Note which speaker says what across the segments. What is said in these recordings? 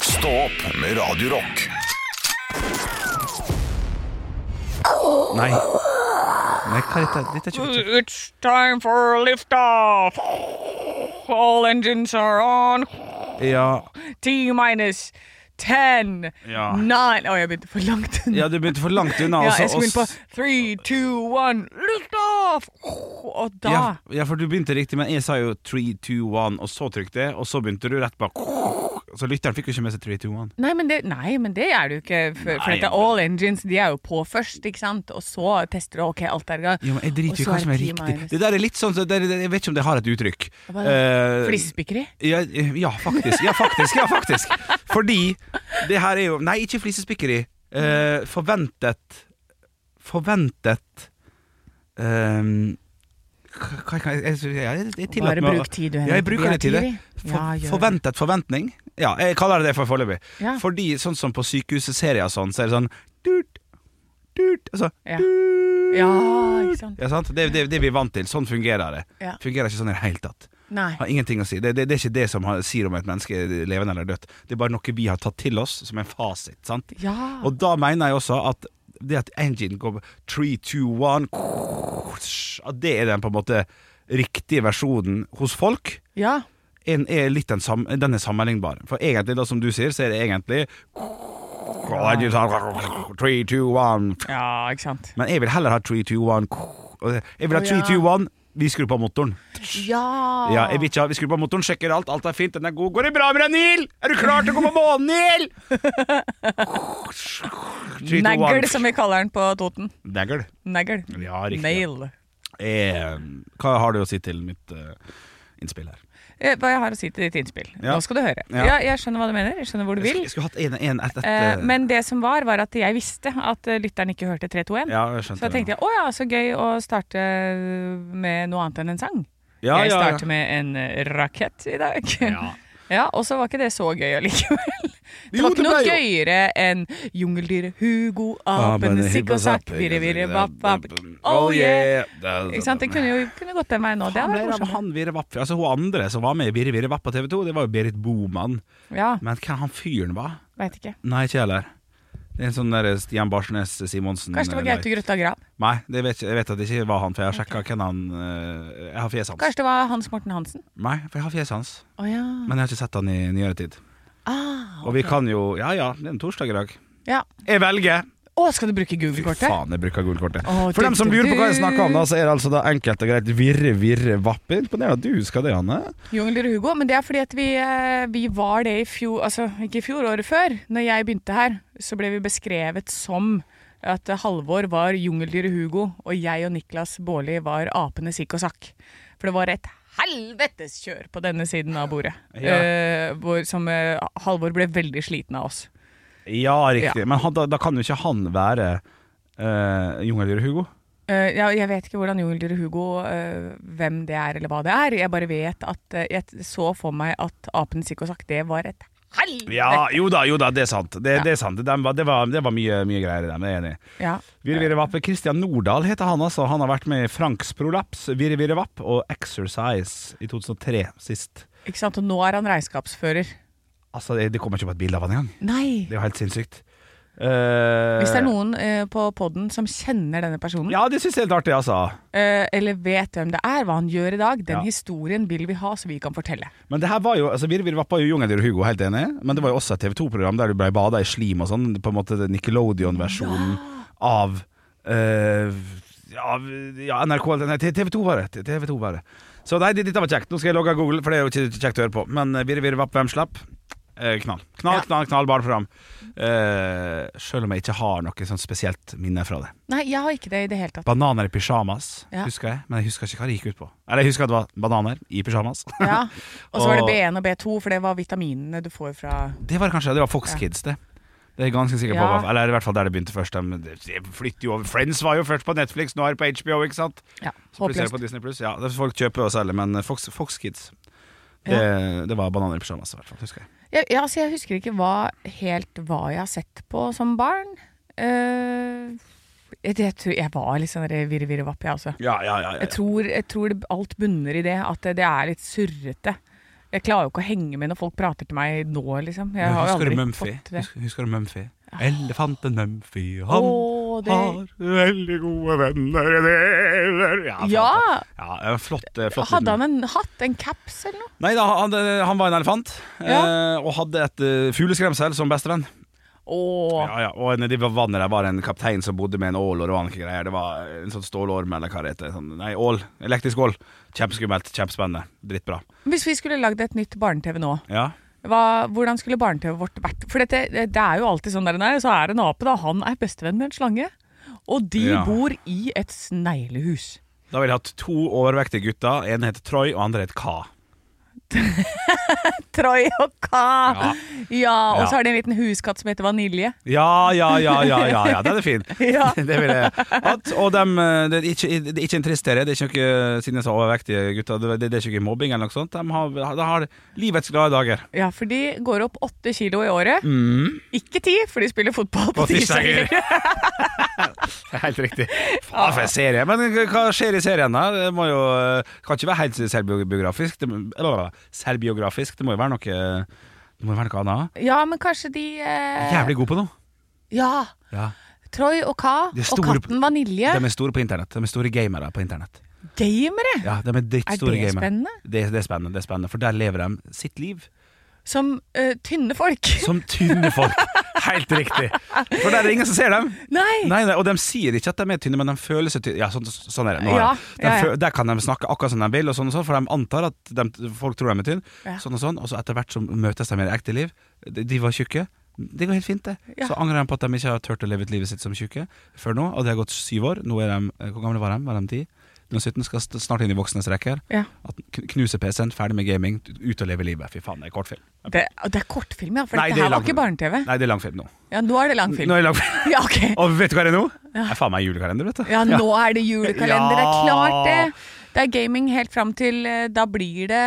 Speaker 1: Stå opp med Radio Rock.
Speaker 2: Nei. Nei, hva er dette? Dette er ikke dette.
Speaker 3: It's time for liftoff. All engines are on.
Speaker 2: er- Ja,
Speaker 3: T minus 10,
Speaker 2: Ja.
Speaker 3: 9 Å, jeg begynte for langt.
Speaker 2: ja, du begynte for langt unna.
Speaker 3: Ja,
Speaker 2: altså,
Speaker 3: jeg skulle inn på
Speaker 2: oss-
Speaker 3: 3, 2, 1, liftoff! Og da
Speaker 2: ja, ja, for du begynte riktig, men jeg sa jo 3, 2, 1, og så trykte jeg, og så begynte du rett bak. Så lytteren fikk jo ikke med seg 3, 2, 1.
Speaker 3: Nei, men det, nei, men det er det jo ikke. For, for
Speaker 2: Nei,
Speaker 3: dette,
Speaker 2: men-
Speaker 3: all engines de er jo på først, ikke sant? Og så tester du. Ok, alt er i gang.
Speaker 2: Jo, men jeg
Speaker 3: Og
Speaker 2: driter jo i
Speaker 3: så
Speaker 2: hva
Speaker 3: er
Speaker 2: som er
Speaker 3: ti
Speaker 2: riktig.
Speaker 3: minus.
Speaker 2: Det der er litt sånn, så det, det, jeg vet ikke om det har et uttrykk.
Speaker 3: Hva
Speaker 2: Eh,
Speaker 3: Flisespikkeri?
Speaker 2: Ja, ja, faktisk. Ja, faktisk. Ja, faktisk. Fordi det her er jo Nei, ikke flisespikkeri. Eh, forventet Forventet ehm, hva, hva, jeg, jeg, jeg, jeg tillater
Speaker 3: Bare
Speaker 2: meg å-
Speaker 3: bruk tid, du,
Speaker 2: Ja, jeg
Speaker 3: Henrik. Vi
Speaker 2: bruker
Speaker 3: har
Speaker 2: litt tid.
Speaker 3: tid,
Speaker 2: det.
Speaker 3: vi.
Speaker 2: For,
Speaker 3: Ja, gjør det.
Speaker 2: forventet forventning. Ja, jeg kaller det det for foreløpig.
Speaker 3: Ja.
Speaker 2: Fordi sånn som på sykehusserier og sånn, så er det sånn dut, dut, altså,
Speaker 3: Ja.
Speaker 2: dut,
Speaker 3: Ja, ikke sant?
Speaker 2: Ja, sant? Det er det, det vi er vant til. Sånn fungerer det.
Speaker 3: Ja.
Speaker 2: Fungerer ikke sånn i det hele tatt.
Speaker 3: Nei.
Speaker 2: Har ingenting å si. Det, det, det er ikke det som har, sier om et menneske er levende eller dødt. Det er bare noe vi har tatt til oss som en fasit. sant?
Speaker 3: Ja.
Speaker 2: Og da mener jeg også at det at engine går 3, 2, 1 at Det er den på en måte riktige versjonen hos folk.
Speaker 3: ja.
Speaker 2: En er litt den, sam, den er sammenlignbar. For egentlig, da som du sier, så er det egentlig 3, 2, 1
Speaker 3: ja, ikke sant.
Speaker 2: Men jeg vil heller ha 3, 2, 1 Jeg vil ha
Speaker 3: Å,
Speaker 2: 3,
Speaker 3: ja.
Speaker 2: 2, 1 Vi skrur på motoren.
Speaker 3: Ja.
Speaker 2: Ja, jeg vil ikke ha, Vi skrur på motoren, sjekker alt. Alt er fint. Den er god. Går det bra med deg, Neil? Er du klar til å gå på månen, Neil? Three, two, one.
Speaker 3: Negl, som vi kaller den på Toten.
Speaker 2: Negl.
Speaker 3: Negl.
Speaker 2: Ja, riktig.
Speaker 3: Nail.
Speaker 2: Eh, hva har du å si til mitt eh, innspill her?
Speaker 3: Eh, Hva jeg har å si til ditt innspill.
Speaker 2: Ja.
Speaker 3: Nå skal du høre.
Speaker 2: Ja.
Speaker 3: Ja, jeg skjønner hva du mener. Jeg skjønner hvor du vil.
Speaker 2: Jeg skulle, jeg skulle hatt en, en et, et,
Speaker 3: Eh,
Speaker 2: eh,
Speaker 3: men det som var, var at jeg visste at eh, lytteren ikke hørte 321.
Speaker 2: ja, jeg
Speaker 3: Så da tenkte jeg å ja, så gøy å starte eh, med noe annet enn en sang.
Speaker 2: ja,
Speaker 3: jeg
Speaker 2: ja, ja.
Speaker 3: starter med en eh, rakett i dag.
Speaker 2: Ja.
Speaker 3: Ja, Og så var ikke det så gøy allikevel. Det
Speaker 2: Jo,
Speaker 3: var ikke
Speaker 2: det
Speaker 3: noe
Speaker 2: ble jo-
Speaker 3: gøyere enn jungeldyret Hugo,
Speaker 2: Ah,
Speaker 3: apen, sikk og sakk, virre, virre, vapp, vapp. Oh yeah! Ikke sant, Det kunne jo kunne gått den veien nå. Det
Speaker 2: Han
Speaker 3: hadde
Speaker 2: ble
Speaker 3: vært
Speaker 2: av
Speaker 3: morsomt.
Speaker 2: han Virre Vapp Altså Hun andre som var med i Virre Virre Vapp på TV 2, det var jo Berit Boman.
Speaker 3: Ja,
Speaker 2: Men hvem han fyren var?
Speaker 3: veit ikke.
Speaker 2: Nei, ikke jeg heller. Det er en sånn der Stian Barsnes Simonsen
Speaker 3: Kanskje det var Gaute Grøtta Grav.
Speaker 2: Nei, det vet, ikke- jeg vet at det ikke var han, for jeg har sjekka hvem han eh, Jeg har fjeset hans.
Speaker 3: Kanskje det var Hans Morten Hansen.
Speaker 2: Nei, for jeg har fjeset hans.
Speaker 3: Å ja.
Speaker 2: Men jeg har ikke sett han i nyere tid.
Speaker 3: Ah,
Speaker 2: Og vi kan jo Ja ja, det er en torsdag i dag.
Speaker 3: ja.
Speaker 2: Jeg velger!
Speaker 3: Å, skal du bruke
Speaker 2: Fy
Speaker 3: Google-kortet?
Speaker 2: faen, jeg bruker gullkortet.
Speaker 3: Å,
Speaker 2: For dem som
Speaker 3: du-
Speaker 2: lurer på hva jeg
Speaker 3: du-
Speaker 2: snakker om, da, så er det altså da enkelt og greit Virre Virre Vapp. Imponerende at du husker det, Hanne.
Speaker 3: Jungler og Hugo, men det er fordi at vi, eh, vi var det i fjor, altså ikke i fjor, året før. Når jeg begynte her, så ble vi beskrevet som at Halvor var jungeldyret Hugo, og jeg og Niklas Baarli var apene Sikk og Sakk. For det var et helvetes kjør på denne siden av bordet.
Speaker 2: Ja.
Speaker 3: eh, hvor, som eh, Halvor ble veldig sliten av oss.
Speaker 2: Ja, riktig. Men han, da, da kan jo ikke han være uh, Jungeldyret Hugo.
Speaker 3: Eh, ja, jeg vet ikke hvordan Jungeldyret Hugo, eh, hvem det er eller hva det er. Jeg bare vet at eh, jeg så for meg at apen Sikk og Sakk, det var et helvete!
Speaker 2: Ja, jo da, jo da, det er sant. Det,
Speaker 3: Ja.
Speaker 2: det er sant. Det, var, det, var, det var mye, mye greier i dem, jeg er enig i.
Speaker 3: Ja.
Speaker 2: Virrevirrevapp. Kristian Nordahl heter han, altså. Han har vært med i Franks prolaps, Virrevirrevapp og Exercise i 2003 sist.
Speaker 3: Ikke sant? Og nå er han regnskapsfører.
Speaker 2: Altså, det, det kommer ikke på et bilde av han engang.
Speaker 3: Nei!
Speaker 2: Det er jo helt sinnssykt. Eh,
Speaker 3: Hvis det er noen eh, på poden som kjenner denne personen,
Speaker 2: Ja, det syns jeg er helt artig, altså.
Speaker 3: eh, eller vet hvem det er, hva han gjør i dag, den
Speaker 2: Ja.
Speaker 3: historien vil vi ha så vi kan fortelle.
Speaker 2: Men det her var jo altså, Virrevirrevapp var jo Jungelen og Hugo, helt enig. Men det var jo også et TV 2-program der du ble bada i slim og sånn. På en måte den Nickelodeon-versjonen av eh, av, ja, NRK Nei, TV 2 var det. TV 2 var det. Så nei, det- dette var kjekt. Nå skal jeg logge av Google, for det er jo ikke kjekt å høre på. Men eh, Virre Virre Vapp, hvem slapp? Eh, knall. Knall,
Speaker 3: Ja.
Speaker 2: knall, knall, bare fram. Eh, selv om jeg ikke har noe sånn spesielt minne fra det.
Speaker 3: Nei, jeg har ikke det i det hele tatt.
Speaker 2: Bananer i pysjamas
Speaker 3: Ja.
Speaker 2: husker jeg, men jeg husker ikke hva det gikk ut på. Eller jeg husker at det var bananer i pysjamas.
Speaker 3: Ja. Og så var det
Speaker 2: Og-
Speaker 3: B1 og B2, for det var vitaminene du får fra
Speaker 2: Det var det kanskje, det var Fox
Speaker 3: Ja.
Speaker 2: Kids det Det er jeg ganske sikker
Speaker 3: Ja.
Speaker 2: på Eller i hvert fall der det begynte først De- de flytter jo over Friends var jo først på Netflix Nå er det på HBO, ikke sant?
Speaker 3: ja,
Speaker 2: Så plutselig er det
Speaker 3: Håpløst.
Speaker 2: på Disney Plus Ja, det er folk kjøper og selger Men eh, Fox, Fox Kids det, det var bananer i pyjamas i hvert fall, husker jeg
Speaker 3: Jeg, ja, altså, jeg husker ikke hva, helt hva jeg har sett på som barn. Eh, jeg, jeg, tror, jeg var litt sånn der virre-virre-vapp, jeg også.
Speaker 2: Ja, ja, ja,
Speaker 3: Jeg tror, jeg tror det, alt bunner i det, at det, det er litt surrete. Jeg klarer jo ikke å henge med når folk prater til meg nå, liksom. Jeg har jo
Speaker 2: Husker du
Speaker 3: aldri
Speaker 2: Mumphy?
Speaker 3: fått det.
Speaker 2: Husker- Husker du Mumphy? Elefanten Mumphy, han
Speaker 3: Åh, det-
Speaker 2: har veldig gode venner i deler Ja! flott,
Speaker 3: Ja!
Speaker 2: da. ja det var flott, eh, flott
Speaker 3: Hadde
Speaker 2: liten-
Speaker 3: han en hatt? En caps eller noe?
Speaker 2: Nei da, han, eh, han var en elefant,
Speaker 3: Ja.
Speaker 2: eh, og hadde et eh, fugleskremsel som bestevenn.
Speaker 3: Åh,
Speaker 2: Ja, ja. Og nedi ved vannet der var det en kaptein som bodde med en ål, og det var noen greier. Det var en sånn stålorm, eller hva det heter. Sånn, nei, ål. Elektrisk ål. Kjempeskummelt. Kjempespennende. Drittbra.
Speaker 3: Hvis vi skulle lagd et nytt barne-TV nå,
Speaker 2: Ja.
Speaker 3: hva, hvordan skulle barne-TV vårt vært? For dette, det det er jo alltid sånn der, nei, så er det en ape da, han er bestevenn med en slange. Og de
Speaker 2: Ja.
Speaker 3: bor i et sneglehus.
Speaker 2: Da ville jeg hatt to overvektige gutter. En het Troy, og andre het Ka.
Speaker 3: Troy og Ka!
Speaker 2: Ja.
Speaker 3: Ja, og
Speaker 2: Ja.
Speaker 3: så har de en liten huskatt som heter Vanilje.
Speaker 2: Ja, ja, ja, ja, ja, ja. den er fin.
Speaker 3: Ja.
Speaker 2: det ville jeg hatt. Og dem, eh, det, er ikke, det er ikke en trist serie, det er ikke noe, eh, siden jeg sa overvektige gutter, det, det er ikke noe mobbing eller noe sånt. De har, de har livets glade dager.
Speaker 3: Ja, for de går opp åtte kilo i året.
Speaker 2: Mm.
Speaker 3: Ikke ti, for de spiller fotball på,
Speaker 2: På tirsdager.
Speaker 3: tirsdager.
Speaker 2: Helt riktig.
Speaker 3: Ah.
Speaker 2: Faen, for en serie. Men h- hva skjer i serien her? Det må jo, eh, kan ikke være helt selvbiografisk. Det, må- eller, selvbiografisk. det må jo være noe Det må jo være noe annet.
Speaker 3: Ja, men kanskje de eh,
Speaker 2: Jævlig god på noe.
Speaker 3: Ja.
Speaker 2: Ja.
Speaker 3: Troy og Ka
Speaker 2: De er
Speaker 3: og
Speaker 2: store-
Speaker 3: katten Vanilje.
Speaker 2: De er store på internett. De er store gamere på internett.
Speaker 3: Gamere!
Speaker 2: Ja, de er drittstore
Speaker 3: Er det
Speaker 2: gamere.
Speaker 3: spennende?
Speaker 2: Det, det er spennende, det er spennende. For der lever de sitt liv.
Speaker 3: Som eh, tynne folk.
Speaker 2: Som tynne folk. Helt riktig. For der er det ingen som ser dem.
Speaker 3: Nei!
Speaker 2: Nei, nei, og de sier ikke at de er tynne, men de føler seg tynne. Ja, sånn, sånn er det. Nå er
Speaker 3: Ja,
Speaker 2: det. De
Speaker 3: ja, ja.
Speaker 2: fø- der kan de snakke akkurat som de vil, og sånn og sånn, for de antar at de, folk tror de er tynne.
Speaker 3: Ja.
Speaker 2: Sånn og sånn, og så etter hvert så møtes de i det ekte liv. De, de var tjukke. Det går helt fint, det.
Speaker 3: Ja.
Speaker 2: Så angrer de på at de ikke har turt å leve ut livet sitt som tjukke før nå, og det har gått syv år. Nå er de, eh, Hvor gamle var de? Var de ti? Nå er de 17, skal st- snart inn i voksnes rekker.
Speaker 3: Ja.
Speaker 2: At kn- Knuse PC-en, ferdig med gaming, ut og leve livet. Fy faen, det er kortfilm.
Speaker 3: Det, det er kortfilm, ja. For
Speaker 2: Nei,
Speaker 3: dette
Speaker 2: det er
Speaker 3: her var
Speaker 2: lang-
Speaker 3: ikke barne-TV.
Speaker 2: Nei, det er langfilm nå.
Speaker 3: Ja, nå er det
Speaker 2: Nå
Speaker 3: langfilm.
Speaker 2: er det langfilm.
Speaker 3: Ja, ok.
Speaker 2: Og vet du hva det er nå? Det er faen meg julekalender, vet du.
Speaker 3: Ja, nå er det julekalender. Det
Speaker 2: Ja.
Speaker 3: er klart, det. Det er gaming helt fram til eh, Da blir det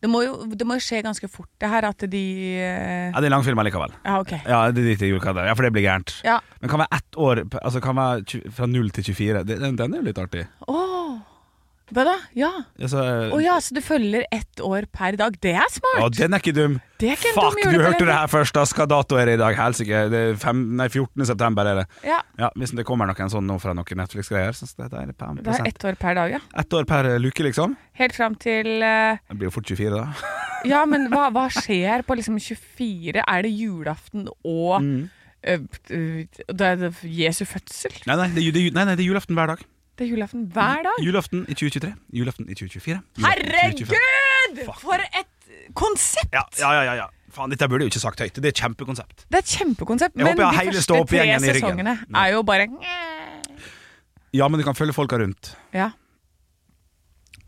Speaker 3: Det må jo, det må jo skje ganske fort, det her, at de eh,
Speaker 2: Ja, det er langfilm allikevel.
Speaker 3: Ja, OK.
Speaker 2: Ja, det driter jeg i julekalender. Ja, for det blir gærent.
Speaker 3: Ja.
Speaker 2: Men kan være ett år Altså kan være tju- fra 0 til 24. Det- Den, den er jo litt artig.
Speaker 3: Å! Hva da? Ja.
Speaker 2: Altså,
Speaker 3: Å ja, så du følger ett år per dag. Det er smart!
Speaker 2: ja, den er ikke dum.
Speaker 3: Det er ikke en dum
Speaker 2: Fuck, du hørte det
Speaker 3: julekalender.
Speaker 2: her først. Da skal dato er det i dag. Helsike. Det er fem, nei, 14. september er det.
Speaker 3: Ja.
Speaker 2: Ja, Hvis det kommer noen sånn nå fra noen Netflix-greier. Så det er det per-
Speaker 3: Det er
Speaker 2: prosent.
Speaker 3: ett år per dag, ja.
Speaker 2: Ett år per luke, liksom.
Speaker 3: Helt fram til eh,
Speaker 2: Det blir jo fort 24, da.
Speaker 3: Ja, men hva, hva skjer på liksom 24? Er det julaften og
Speaker 2: Mm.
Speaker 3: eh, eh, Det er det Jesu fødsel?
Speaker 2: Nei nei det, er ju- det er ju- nei, nei, det er julaften hver dag.
Speaker 3: Det er julaften hver dag.
Speaker 2: Julaften i 2023. Julaften i 2024. julaften i 2025.
Speaker 3: Herregud!
Speaker 2: Fuck.
Speaker 3: For et konsept!
Speaker 2: Ja, ja, ja, ja, ja. Faen, dette burde jeg jo ikke sagt høyt. Det er et kjempekonsept.
Speaker 3: Det er et kjempekonsept.
Speaker 2: Jeg
Speaker 3: Men
Speaker 2: håper jeg har
Speaker 3: de
Speaker 2: hele
Speaker 3: første tre
Speaker 2: stå-opp-gjengen i ryggen.
Speaker 3: sesongene
Speaker 2: Nei.
Speaker 3: er jo bare
Speaker 2: Ja, men du kan følge folka rundt.
Speaker 3: Ja.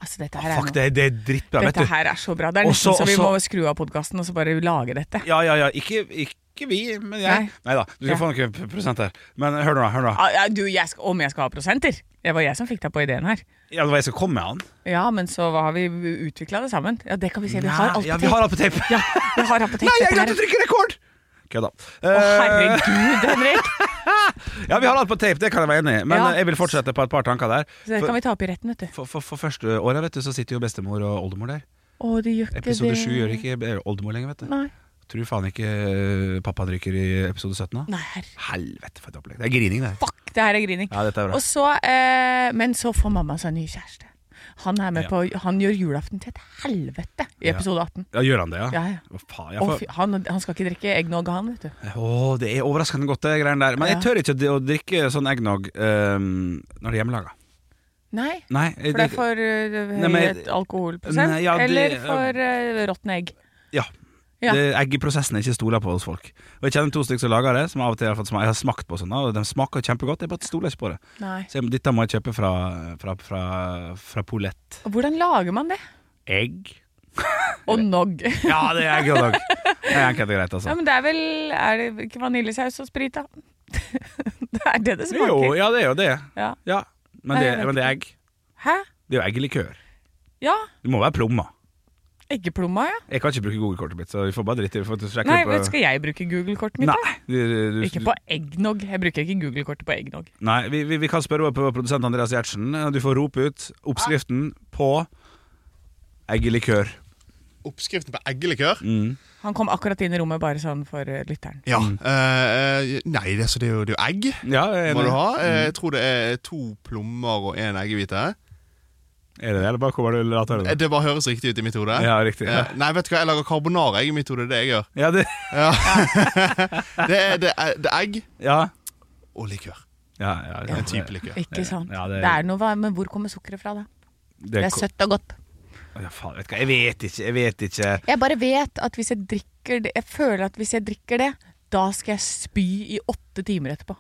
Speaker 3: Altså, dette her er
Speaker 2: Ah, Fuck,
Speaker 3: noe.
Speaker 2: det, det er drittbra. vet
Speaker 3: Dette
Speaker 2: du.
Speaker 3: her er så bra. Det er
Speaker 2: Også-
Speaker 3: nesten så vi må
Speaker 2: også-
Speaker 3: skru av podkasten og så bare lage dette.
Speaker 2: Ja, ja, ja. Ikke, ikke vi, men jeg.
Speaker 3: Nei.
Speaker 2: Nei da, du skal
Speaker 3: Ja.
Speaker 2: få noen p- prosent her. Men hør nå, da, hør nå.
Speaker 3: Ah, ja, Du, jeg skal, om jeg skal ha prosenter? Det var jeg som fikk deg på ideen her.
Speaker 2: Ja, det var jeg som kom med han.
Speaker 3: Ja, men så hva har vi utvikla det sammen? Ja, det kan vi si. Vi har alt
Speaker 2: ja,
Speaker 3: på
Speaker 2: vi har
Speaker 3: tape.
Speaker 2: alt på tape.
Speaker 3: Ja, vi har alt på tape.
Speaker 2: Nei, jeg
Speaker 3: Dette her
Speaker 2: glemte å
Speaker 3: er-
Speaker 2: trykke rekord! Kødda.
Speaker 3: Å,
Speaker 2: Eh,
Speaker 3: herregud, Henrik!
Speaker 2: ja, vi har alt på tape, det kan jeg være enig i. Men
Speaker 3: Ja.
Speaker 2: eh, jeg vil fortsette på et par tanker der.
Speaker 3: Så det
Speaker 2: For-
Speaker 3: kan vi ta opp i retten, vet du.
Speaker 2: For, for, for første året vet du, så sitter jo bestemor og oldemor der.
Speaker 3: Å, det gjør ikke
Speaker 2: Episode
Speaker 3: det.
Speaker 2: 7 gjør ikke eh, oldemor lenger, vet du.
Speaker 3: Nei.
Speaker 2: Tror faen ikke eh, pappa drikker i episode 17 da.
Speaker 3: Nei, herre.
Speaker 2: Helvete for et opplegg. Det er grining, det. her.
Speaker 3: Fuck, det her er grining.
Speaker 2: Ja, dette er bra.
Speaker 3: Og så, eh, men så får mamma seg en ny kjæreste. Han, er med
Speaker 2: Ja.
Speaker 3: på, han gjør julaften til et helvete i
Speaker 2: Ja.
Speaker 3: episode 18.
Speaker 2: Ja, gjør han det, ja?
Speaker 3: Ja, ja.
Speaker 2: Å, faen, jeg
Speaker 3: Og
Speaker 2: får...
Speaker 3: fy, han, han skal ikke drikke eggnog, han, vet du.
Speaker 2: Åh, det er overraskende godt det greiene der Men jeg
Speaker 3: Ja.
Speaker 2: tør ikke å dri- å drikke sånn eggnog ehm, Når det er hjemmelaga
Speaker 3: Nei.
Speaker 2: Nei,
Speaker 3: For det er for eh,
Speaker 2: Nei, men-
Speaker 3: høyt alkoholprosent?
Speaker 2: Nei, ja, det-
Speaker 3: eller for uh, råtne egg?
Speaker 2: ja.
Speaker 3: Ja.
Speaker 2: Det, Eggeprosessen er ikke stoler på hos folk Og jeg kjenner to stykker som lager det Som av og til har fått smak, jeg har smakt på sånn da, Og de smaker kjempegodt, jeg bare stoler ikke på det
Speaker 3: Nei.
Speaker 2: Så jeg, dette må jeg kjøpe fra, fra, fra, fra Polett
Speaker 3: Og Hvordan lager man det?
Speaker 2: Egg?
Speaker 3: Og nog.
Speaker 2: Ja, det er egg og dag Det er enkelt og greit
Speaker 3: Ja,
Speaker 2: altså
Speaker 3: men det er vel Er det ikke vaniljesaus og sprit, da? det er det det smaker.
Speaker 2: Jo, ja det er jo det
Speaker 3: Ja.
Speaker 2: Ja, men
Speaker 3: Nei,
Speaker 2: det,
Speaker 3: jeg vet
Speaker 2: men det er egg
Speaker 3: Hæ?
Speaker 2: Det er jo eggelikør
Speaker 3: Ja.
Speaker 2: Det må være plomma
Speaker 3: Eggeplomma, ja.
Speaker 2: Jeg kan ikke bruke Google-kortet mitt Så vi får bare dritt i det
Speaker 3: Nei, vet, skal jeg bruke Google-kortet mitt? da?
Speaker 2: Nei, du- du-
Speaker 3: Ikke
Speaker 2: du-
Speaker 3: på eggnog. Jeg bruker ikke Google-kortet på eggnog.
Speaker 2: Nei, vi, vi, vi kan spørre på produsent Andreas Eh, Gjertsen. Du får rope ut oppskriften på eggelikør. Mm.
Speaker 4: oppskriften på eggelikør.
Speaker 3: Han kom akkurat inn i rommet bare sånn for eh, lytteren.
Speaker 4: Ja. eh, eh, nei, det, så det, er jo, det er jo egg.
Speaker 2: Ja, jeg Mm. er Mm.
Speaker 4: Må du
Speaker 2: enig.
Speaker 4: ha. Eh, jeg tror det er to plommer og én eggehvite.
Speaker 2: Er det det, eller bare kommer du latere?
Speaker 4: Eh,
Speaker 2: da?
Speaker 4: Det bare høres riktig ut i mitt hode.
Speaker 2: Mm. Ja, riktig. Ja.
Speaker 4: Eh, nei, vet du hva, jeg lager carbonara jeg, i mitt hode. Det er det jeg gjør.
Speaker 2: Ja, det,
Speaker 4: Ja. det, er, det, er, det er egg
Speaker 2: ja.
Speaker 4: og likør.
Speaker 2: Ja, ja, ja.
Speaker 4: En type likør.
Speaker 3: Ikke sant?
Speaker 2: Ja,
Speaker 3: det,
Speaker 2: det-
Speaker 3: er noe, hva- Men hvor kommer sukkeret fra, da? Det er
Speaker 2: ko-
Speaker 3: søtt og godt.
Speaker 2: Ja, faen, vet du hva, jeg vet ikke, jeg vet ikke.
Speaker 3: Jeg bare vet at hvis jeg drikker det Jeg føler at hvis jeg drikker det, da skal jeg spy i åtte timer etterpå.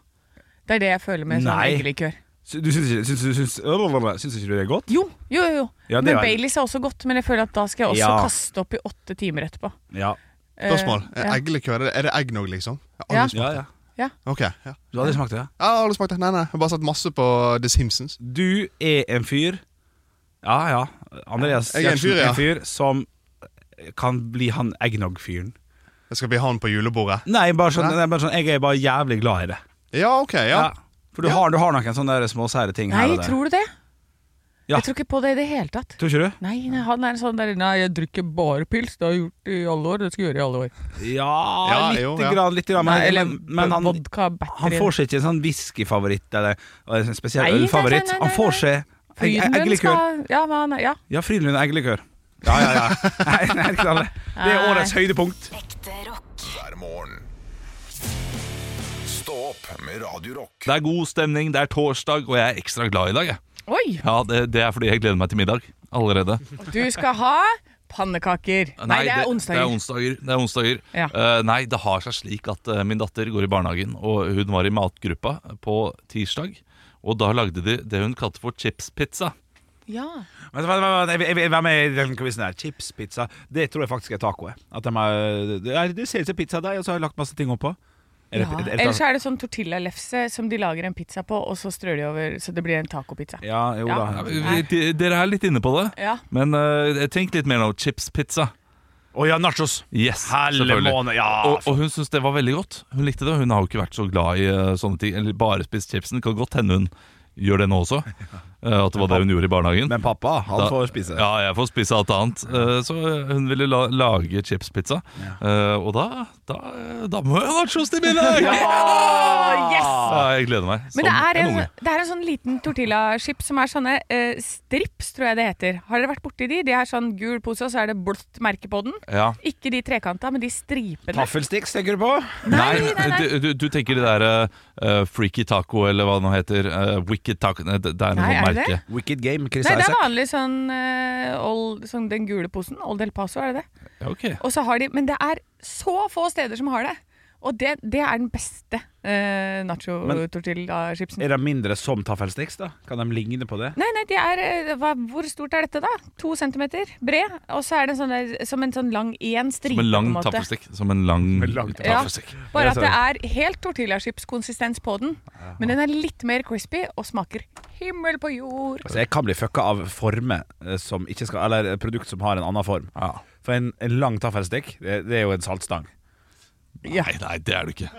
Speaker 3: Det er det jeg føler med sånn
Speaker 2: Nei.
Speaker 3: eggelikør.
Speaker 2: Sy- Du syns ikke, syns, syns, syns, øh, blablabla, syns ikke du det er godt?
Speaker 3: Jo, jo, jo.
Speaker 2: Ja, det
Speaker 3: men
Speaker 2: er-
Speaker 3: Baileys er også godt, men jeg føler at da skal jeg også
Speaker 2: Ja.
Speaker 3: kaste opp i åtte timer etterpå.
Speaker 2: Ja.
Speaker 3: Eh,
Speaker 4: Spørsmål. Er
Speaker 3: ja.
Speaker 4: Eggelikør, er det- er det egg nå, liksom? Jeg har
Speaker 3: Ja.
Speaker 4: Aldri smakt.
Speaker 2: ja.
Speaker 4: Ok, ja.
Speaker 2: Du hadde smakt det? ja.
Speaker 4: Jeg har aldri smakt det. Nei, nei. Jeg har bare sett masse på The Simpsons.
Speaker 2: Du er en fyr Ja, ja. Andreas
Speaker 4: Jeg er en
Speaker 2: Gjertsen
Speaker 4: fyr, ja.
Speaker 2: en fyr som kan bli han eggnog-fyren.
Speaker 4: Jeg skal bli han på julebordet.
Speaker 2: Nei, bare sånn,
Speaker 4: Nei.
Speaker 2: nei, bare sånn, jeg er bare jævlig glad i det.
Speaker 4: Ja, ok, ja.
Speaker 2: Ja. For du, har, du har noen sånne der små sære ting
Speaker 3: Nei,
Speaker 2: her og der.
Speaker 3: tror du det?
Speaker 2: Ja.
Speaker 3: Jeg tror ikke på det i det hele tatt.
Speaker 2: Tror ikke du?
Speaker 3: Nei, nei, han er sånn der Nei, jeg drikker bare pils. Det har jeg gjort i alle år. Det skal jeg gjøre i alle år.
Speaker 2: Ja,
Speaker 4: Ja,
Speaker 2: litt
Speaker 4: jo, ja.
Speaker 2: grann. Litt grann
Speaker 3: Nei,
Speaker 2: men,
Speaker 3: eller
Speaker 2: men, men han,
Speaker 3: vodka
Speaker 2: han
Speaker 3: battery.
Speaker 2: får seg ikke en sånn whiskyfavoritt eller eller en
Speaker 3: Nei,
Speaker 2: spesiell
Speaker 3: nei, nei,
Speaker 2: ølfavoritt.
Speaker 3: nei, nei,
Speaker 2: Han får seg egg-
Speaker 3: Frydenlund
Speaker 2: eggelikør.
Speaker 3: skal Ja, men han er Ja.
Speaker 2: Ja, Frydenlund eggelikør. Ja, ja, ja. Nei, nei, ikke sant. det er årets høydepunkt.
Speaker 5: Ekte rock.
Speaker 1: hver morgen. Stå opp med Radio Rock.
Speaker 6: Det er god stemning, det er torsdag, og jeg er ekstra glad i dag. Jeg.
Speaker 3: Oi!
Speaker 6: Ja, det, det er fordi jeg gleder meg til middag allerede.
Speaker 3: Du skal ha pannekaker. Nei, det er
Speaker 6: Det er
Speaker 3: onsdager.
Speaker 6: onsdager, det er onsdager.
Speaker 3: Ja.
Speaker 6: Eh, nei, det har seg slik at eh, min datter går i barnehagen, og hun var i matgruppa på tirsdag. Og da lagde de det hun kalte for chipspizza.
Speaker 3: Ja.
Speaker 2: Vent, vent, vent, vent, jeg vil- jeg vil være med i den quizen her. Chips, pizza. Det tror jeg faktisk er taco. jeg. At de er, det er- det ser ut som pizzadeig, og så har jeg lagt masse ting oppå. Er det-
Speaker 3: ja.
Speaker 2: er det- er det
Speaker 3: Eller
Speaker 2: taco?
Speaker 3: så er det sånn tortillalefse som de lager en pizza på, og så strør de over så det blir en tacopizza.
Speaker 2: Ja, jo
Speaker 3: Ja.
Speaker 2: da.
Speaker 6: Vi- vi- Dere er litt inne på det,
Speaker 3: Ja.
Speaker 6: men eh, tenk litt mer nå. Chipspizza.
Speaker 2: Å ja, nachos!
Speaker 6: Yes,
Speaker 2: Helle
Speaker 6: selvfølgelig.
Speaker 2: måne, ja.
Speaker 6: Og, og hun syntes det var veldig godt. Hun likte det. og Hun har jo ikke vært så glad i eh, sånne ting. Eller bare spist chipsen. Kan godt hende hun gjør det nå også. eh, At det var det hun gjorde i barnehagen.
Speaker 2: Men pappa, han
Speaker 6: Da-
Speaker 2: får spise.
Speaker 6: Ja, jeg får spise alt annet. Eh, Så eh, hun ville la lage chipspizza. Eh, Og da, da, eh, da må jeg ha nachos til middag!
Speaker 3: Åh, yes!
Speaker 6: Ja, jeg gleder meg.
Speaker 3: Men det
Speaker 6: som
Speaker 3: er, en,
Speaker 6: unge.
Speaker 3: det er en sånn liten tortillaskip som er sånne eh, strips, tror jeg det heter. Har dere vært borti de? De er sånn gul pose, og så er det blått merke på den.
Speaker 6: ja.
Speaker 3: Ikke de trekanta, men de stripene.
Speaker 2: Taffelsticks, tenker du på?
Speaker 6: Nei,
Speaker 3: nei, nei, nei.
Speaker 6: Du, du, du tenker det der eh, Freaky taco, eller hva det nå heter. eh, wicked taco Nei, det, det er noe sånn
Speaker 3: Nei, er det
Speaker 6: merke.
Speaker 3: det?
Speaker 2: Wicked Game, Chris
Speaker 3: Nei, det er
Speaker 2: Isaac.
Speaker 3: vanlig sånn, eh, old, sånn den gule posen. Old El Paso, er det det?
Speaker 6: Ja, ok.
Speaker 3: Og så har de, men det er så få steder som har det. Og det, det er den beste eh,
Speaker 2: Men-
Speaker 3: nacho-tortilla-chipsen.
Speaker 2: Er de mindre som taffelsticks, da? Kan de ligne på det?
Speaker 3: Nei, nei, det er eh, hva, Hvor stort er dette, da? To centimeter bred. Og så er det en sånn der, som en sånn lang én stripe.
Speaker 6: Som en lang
Speaker 3: på en måte.
Speaker 6: taffelstikk. Som en lang,
Speaker 2: en lang
Speaker 6: taffelstikk.
Speaker 3: Bare at
Speaker 2: Jeg
Speaker 3: det
Speaker 2: ser
Speaker 3: er helt tortillachipskonsistens på den, men den er litt mer crispy og smaker himmel på jord.
Speaker 2: Altså, jeg kan bli fucka av former eh, som ikke skal Eller produkt som har en annen form.
Speaker 6: Ja.
Speaker 2: For en, en lang taffelstikk, det, det er jo en saltstang.
Speaker 6: Nei, nei, det er du ikke.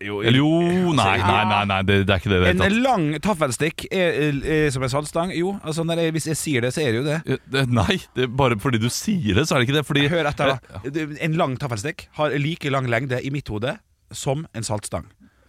Speaker 6: Eller jo,
Speaker 2: altså,
Speaker 6: nei, nei, nei, nei det, det er ikke det i det
Speaker 2: En
Speaker 6: hele tatt.
Speaker 2: lang taffelstikk er, er, som en saltstang? Jo, altså når jeg, hvis jeg sier det, så er det jo det.
Speaker 6: Eh, det- Nei, det, er bare fordi du sier det, så er det ikke det. Fordi,
Speaker 2: Hør etter,
Speaker 6: Eh,
Speaker 2: da. Det- En lang taffelstikk har like lang lengde i mitt hode som en saltstang.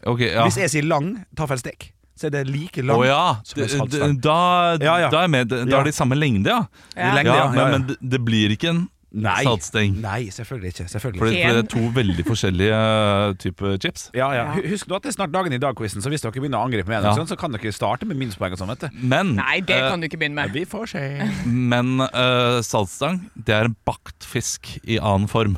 Speaker 6: Ok, ja.
Speaker 2: Hvis jeg sier lang taffelstikk, så er det like
Speaker 6: Å
Speaker 2: lang
Speaker 6: ja.
Speaker 2: som en
Speaker 6: det- det-
Speaker 2: saltstang.
Speaker 6: Da,
Speaker 2: Ja, ja.
Speaker 6: da er jeg med. Da
Speaker 2: Ja.
Speaker 6: er de samme lengde, ja.
Speaker 3: Ja.
Speaker 2: Lengde, ja, ja, ja.
Speaker 6: Men, men det, det blir ikke en
Speaker 2: Nei.
Speaker 6: saltsteng.
Speaker 2: Nei, selvfølgelig ikke. Selvfølgelig.
Speaker 6: Fordi,
Speaker 2: ikke.
Speaker 6: fordi det er to veldig forskjellige typer chips.
Speaker 2: ja, ja. Hu- Husk nå at det er snart dagen i dag-quizen, så hvis dere begynner å angripe med en,
Speaker 6: Ja.
Speaker 2: sånn, så kan dere starte med minuspoeng og sånn, vet du.
Speaker 6: Men,
Speaker 3: Nei, det kan du ikke begynne med.
Speaker 2: Vi får se.
Speaker 6: eh, men eh, saltstang, det er en bakt fisk i annen form.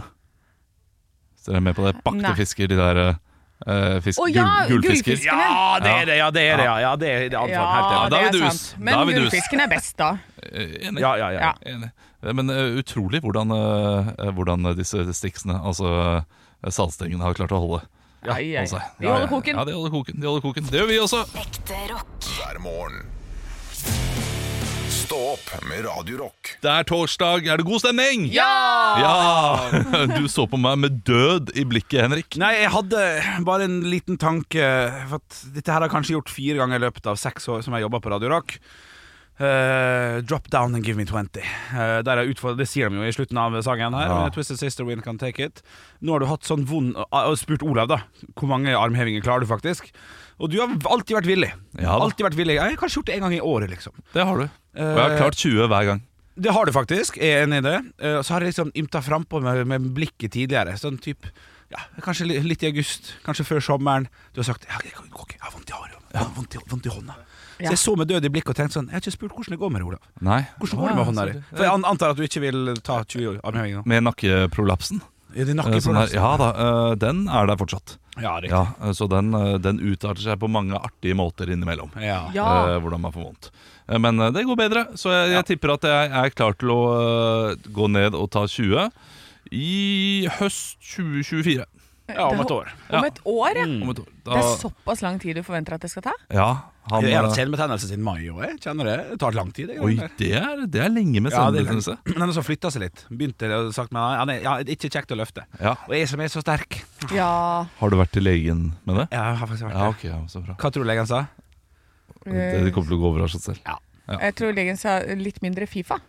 Speaker 6: Så dere er med på det? Bakte
Speaker 3: Nei.
Speaker 6: fisker, de der eh, fisk,
Speaker 3: Å ja,
Speaker 6: gul, gullfisker.
Speaker 3: gullfisk.
Speaker 2: Ja, det er det, ja, det er det, ja. ja det er det er anfall, helt enig.
Speaker 6: da er vi
Speaker 3: det er
Speaker 6: dus.
Speaker 3: sant.
Speaker 6: Da er
Speaker 3: Men
Speaker 6: vi dus.
Speaker 3: gullfisken er best, da.
Speaker 6: Eh, Enig.
Speaker 2: Ja, ja, ja.
Speaker 3: Ja.
Speaker 6: Enig. Eh, Men eh, utrolig hvordan, eh, eh, hvordan disse stiksene, altså eh, saltstengene, har klart å holde.
Speaker 3: Ai, ai.
Speaker 6: holde seg.
Speaker 3: De holder koken.
Speaker 6: altså, Ja, de holder koken. De holder koken. Det gjør vi også.
Speaker 5: Ekte rock.
Speaker 1: hver morgen. Stå opp med Radio Rock.
Speaker 6: Det er torsdag. Er det god stemning?
Speaker 3: Ja!
Speaker 6: Ja! Du så på meg med død i blikket, Henrik.
Speaker 2: Nei, jeg hadde bare en liten tanke For at dette her har jeg kanskje gjort fire ganger i løpet av seks år som jeg jobba på Radio Rock. Eh, eh, drop down and give me 20. Eh, der er utfordret, det sier de jo i slutten av sangen her.
Speaker 6: Ja.
Speaker 2: men Twisted Sister Win Can Take It. Nå har du hatt sånn vond ah, Og spurt Olav, da. Hvor mange armhevinger klarer du faktisk? Og du har alltid vært villig.
Speaker 6: Ja da.
Speaker 2: alltid vært villig. Jeg har kanskje gjort det en gang i året, liksom. Eh,
Speaker 6: Det har du. Og jeg har klart 20 hver gang.
Speaker 2: Det har du faktisk, jeg er enig i det. Eh, Så har jeg liksom ymta frampå med, med blikket tidligere. Sånn typ, ja, Kanskje li- litt i august, kanskje før sommeren. Du har sagt ja, jeg kan- ok, jeg har vondt i håret, jeg har vondt i, vondt i hånda. Så
Speaker 3: Ja.
Speaker 2: jeg så med død i blikket og tenkte sånn Jeg har ikke spurt hvordan det går med deg, Olav.
Speaker 6: Nei.
Speaker 2: Hvordan går det med hånda di? For jeg an- antar at Ah, du ikke vil ta 20 armhevinger nå.
Speaker 6: Med nakkeprolapsen.
Speaker 2: Er det
Speaker 6: Eh, Sånn der,
Speaker 2: nakkeprolaps?
Speaker 6: ja da, eh, den er der fortsatt.
Speaker 2: Ja, riktig.
Speaker 6: Ja, eh, så den, eh, den utarter seg på mange artige måter innimellom.
Speaker 2: Ja.
Speaker 3: Ja.
Speaker 6: eh, hvordan man får vondt. Eh, Men eh, det går bedre, så jeg, jeg tipper at jeg er klar til å eh, gå ned og ta 20 i høst 2024.
Speaker 2: Eh, ja, om et år.
Speaker 3: Om et år, ja.
Speaker 6: Om et år. Mm, Da,
Speaker 3: Det er såpass lang tid du forventer at det skal ta?
Speaker 6: ja, han,
Speaker 2: Jeg har hatt
Speaker 6: eh,
Speaker 2: senebetennelse siden mai òg, jeg kjenner det. Det tar lang tid. det
Speaker 6: oi,
Speaker 2: greiene der.
Speaker 6: det er, det er lenge med
Speaker 2: Ja, det er
Speaker 6: senebetennelse.
Speaker 2: Men han har så flytta seg litt. Begynte å sagt meg ja, nei, ja, det er ikke kjekt å løfte.
Speaker 6: Ja.
Speaker 2: Og jeg som er så sterk.
Speaker 3: Ja.
Speaker 6: Har du vært til legen med det?
Speaker 2: Ja, jeg har faktisk vært
Speaker 6: Ja,
Speaker 2: det.
Speaker 6: ok, ja, så bra.
Speaker 2: Hva tror du legen sa?
Speaker 3: Eh.
Speaker 6: Det, det kommer til å gå over av seg selv. Ja.
Speaker 3: Jeg tror legen sa litt mindre Fifa.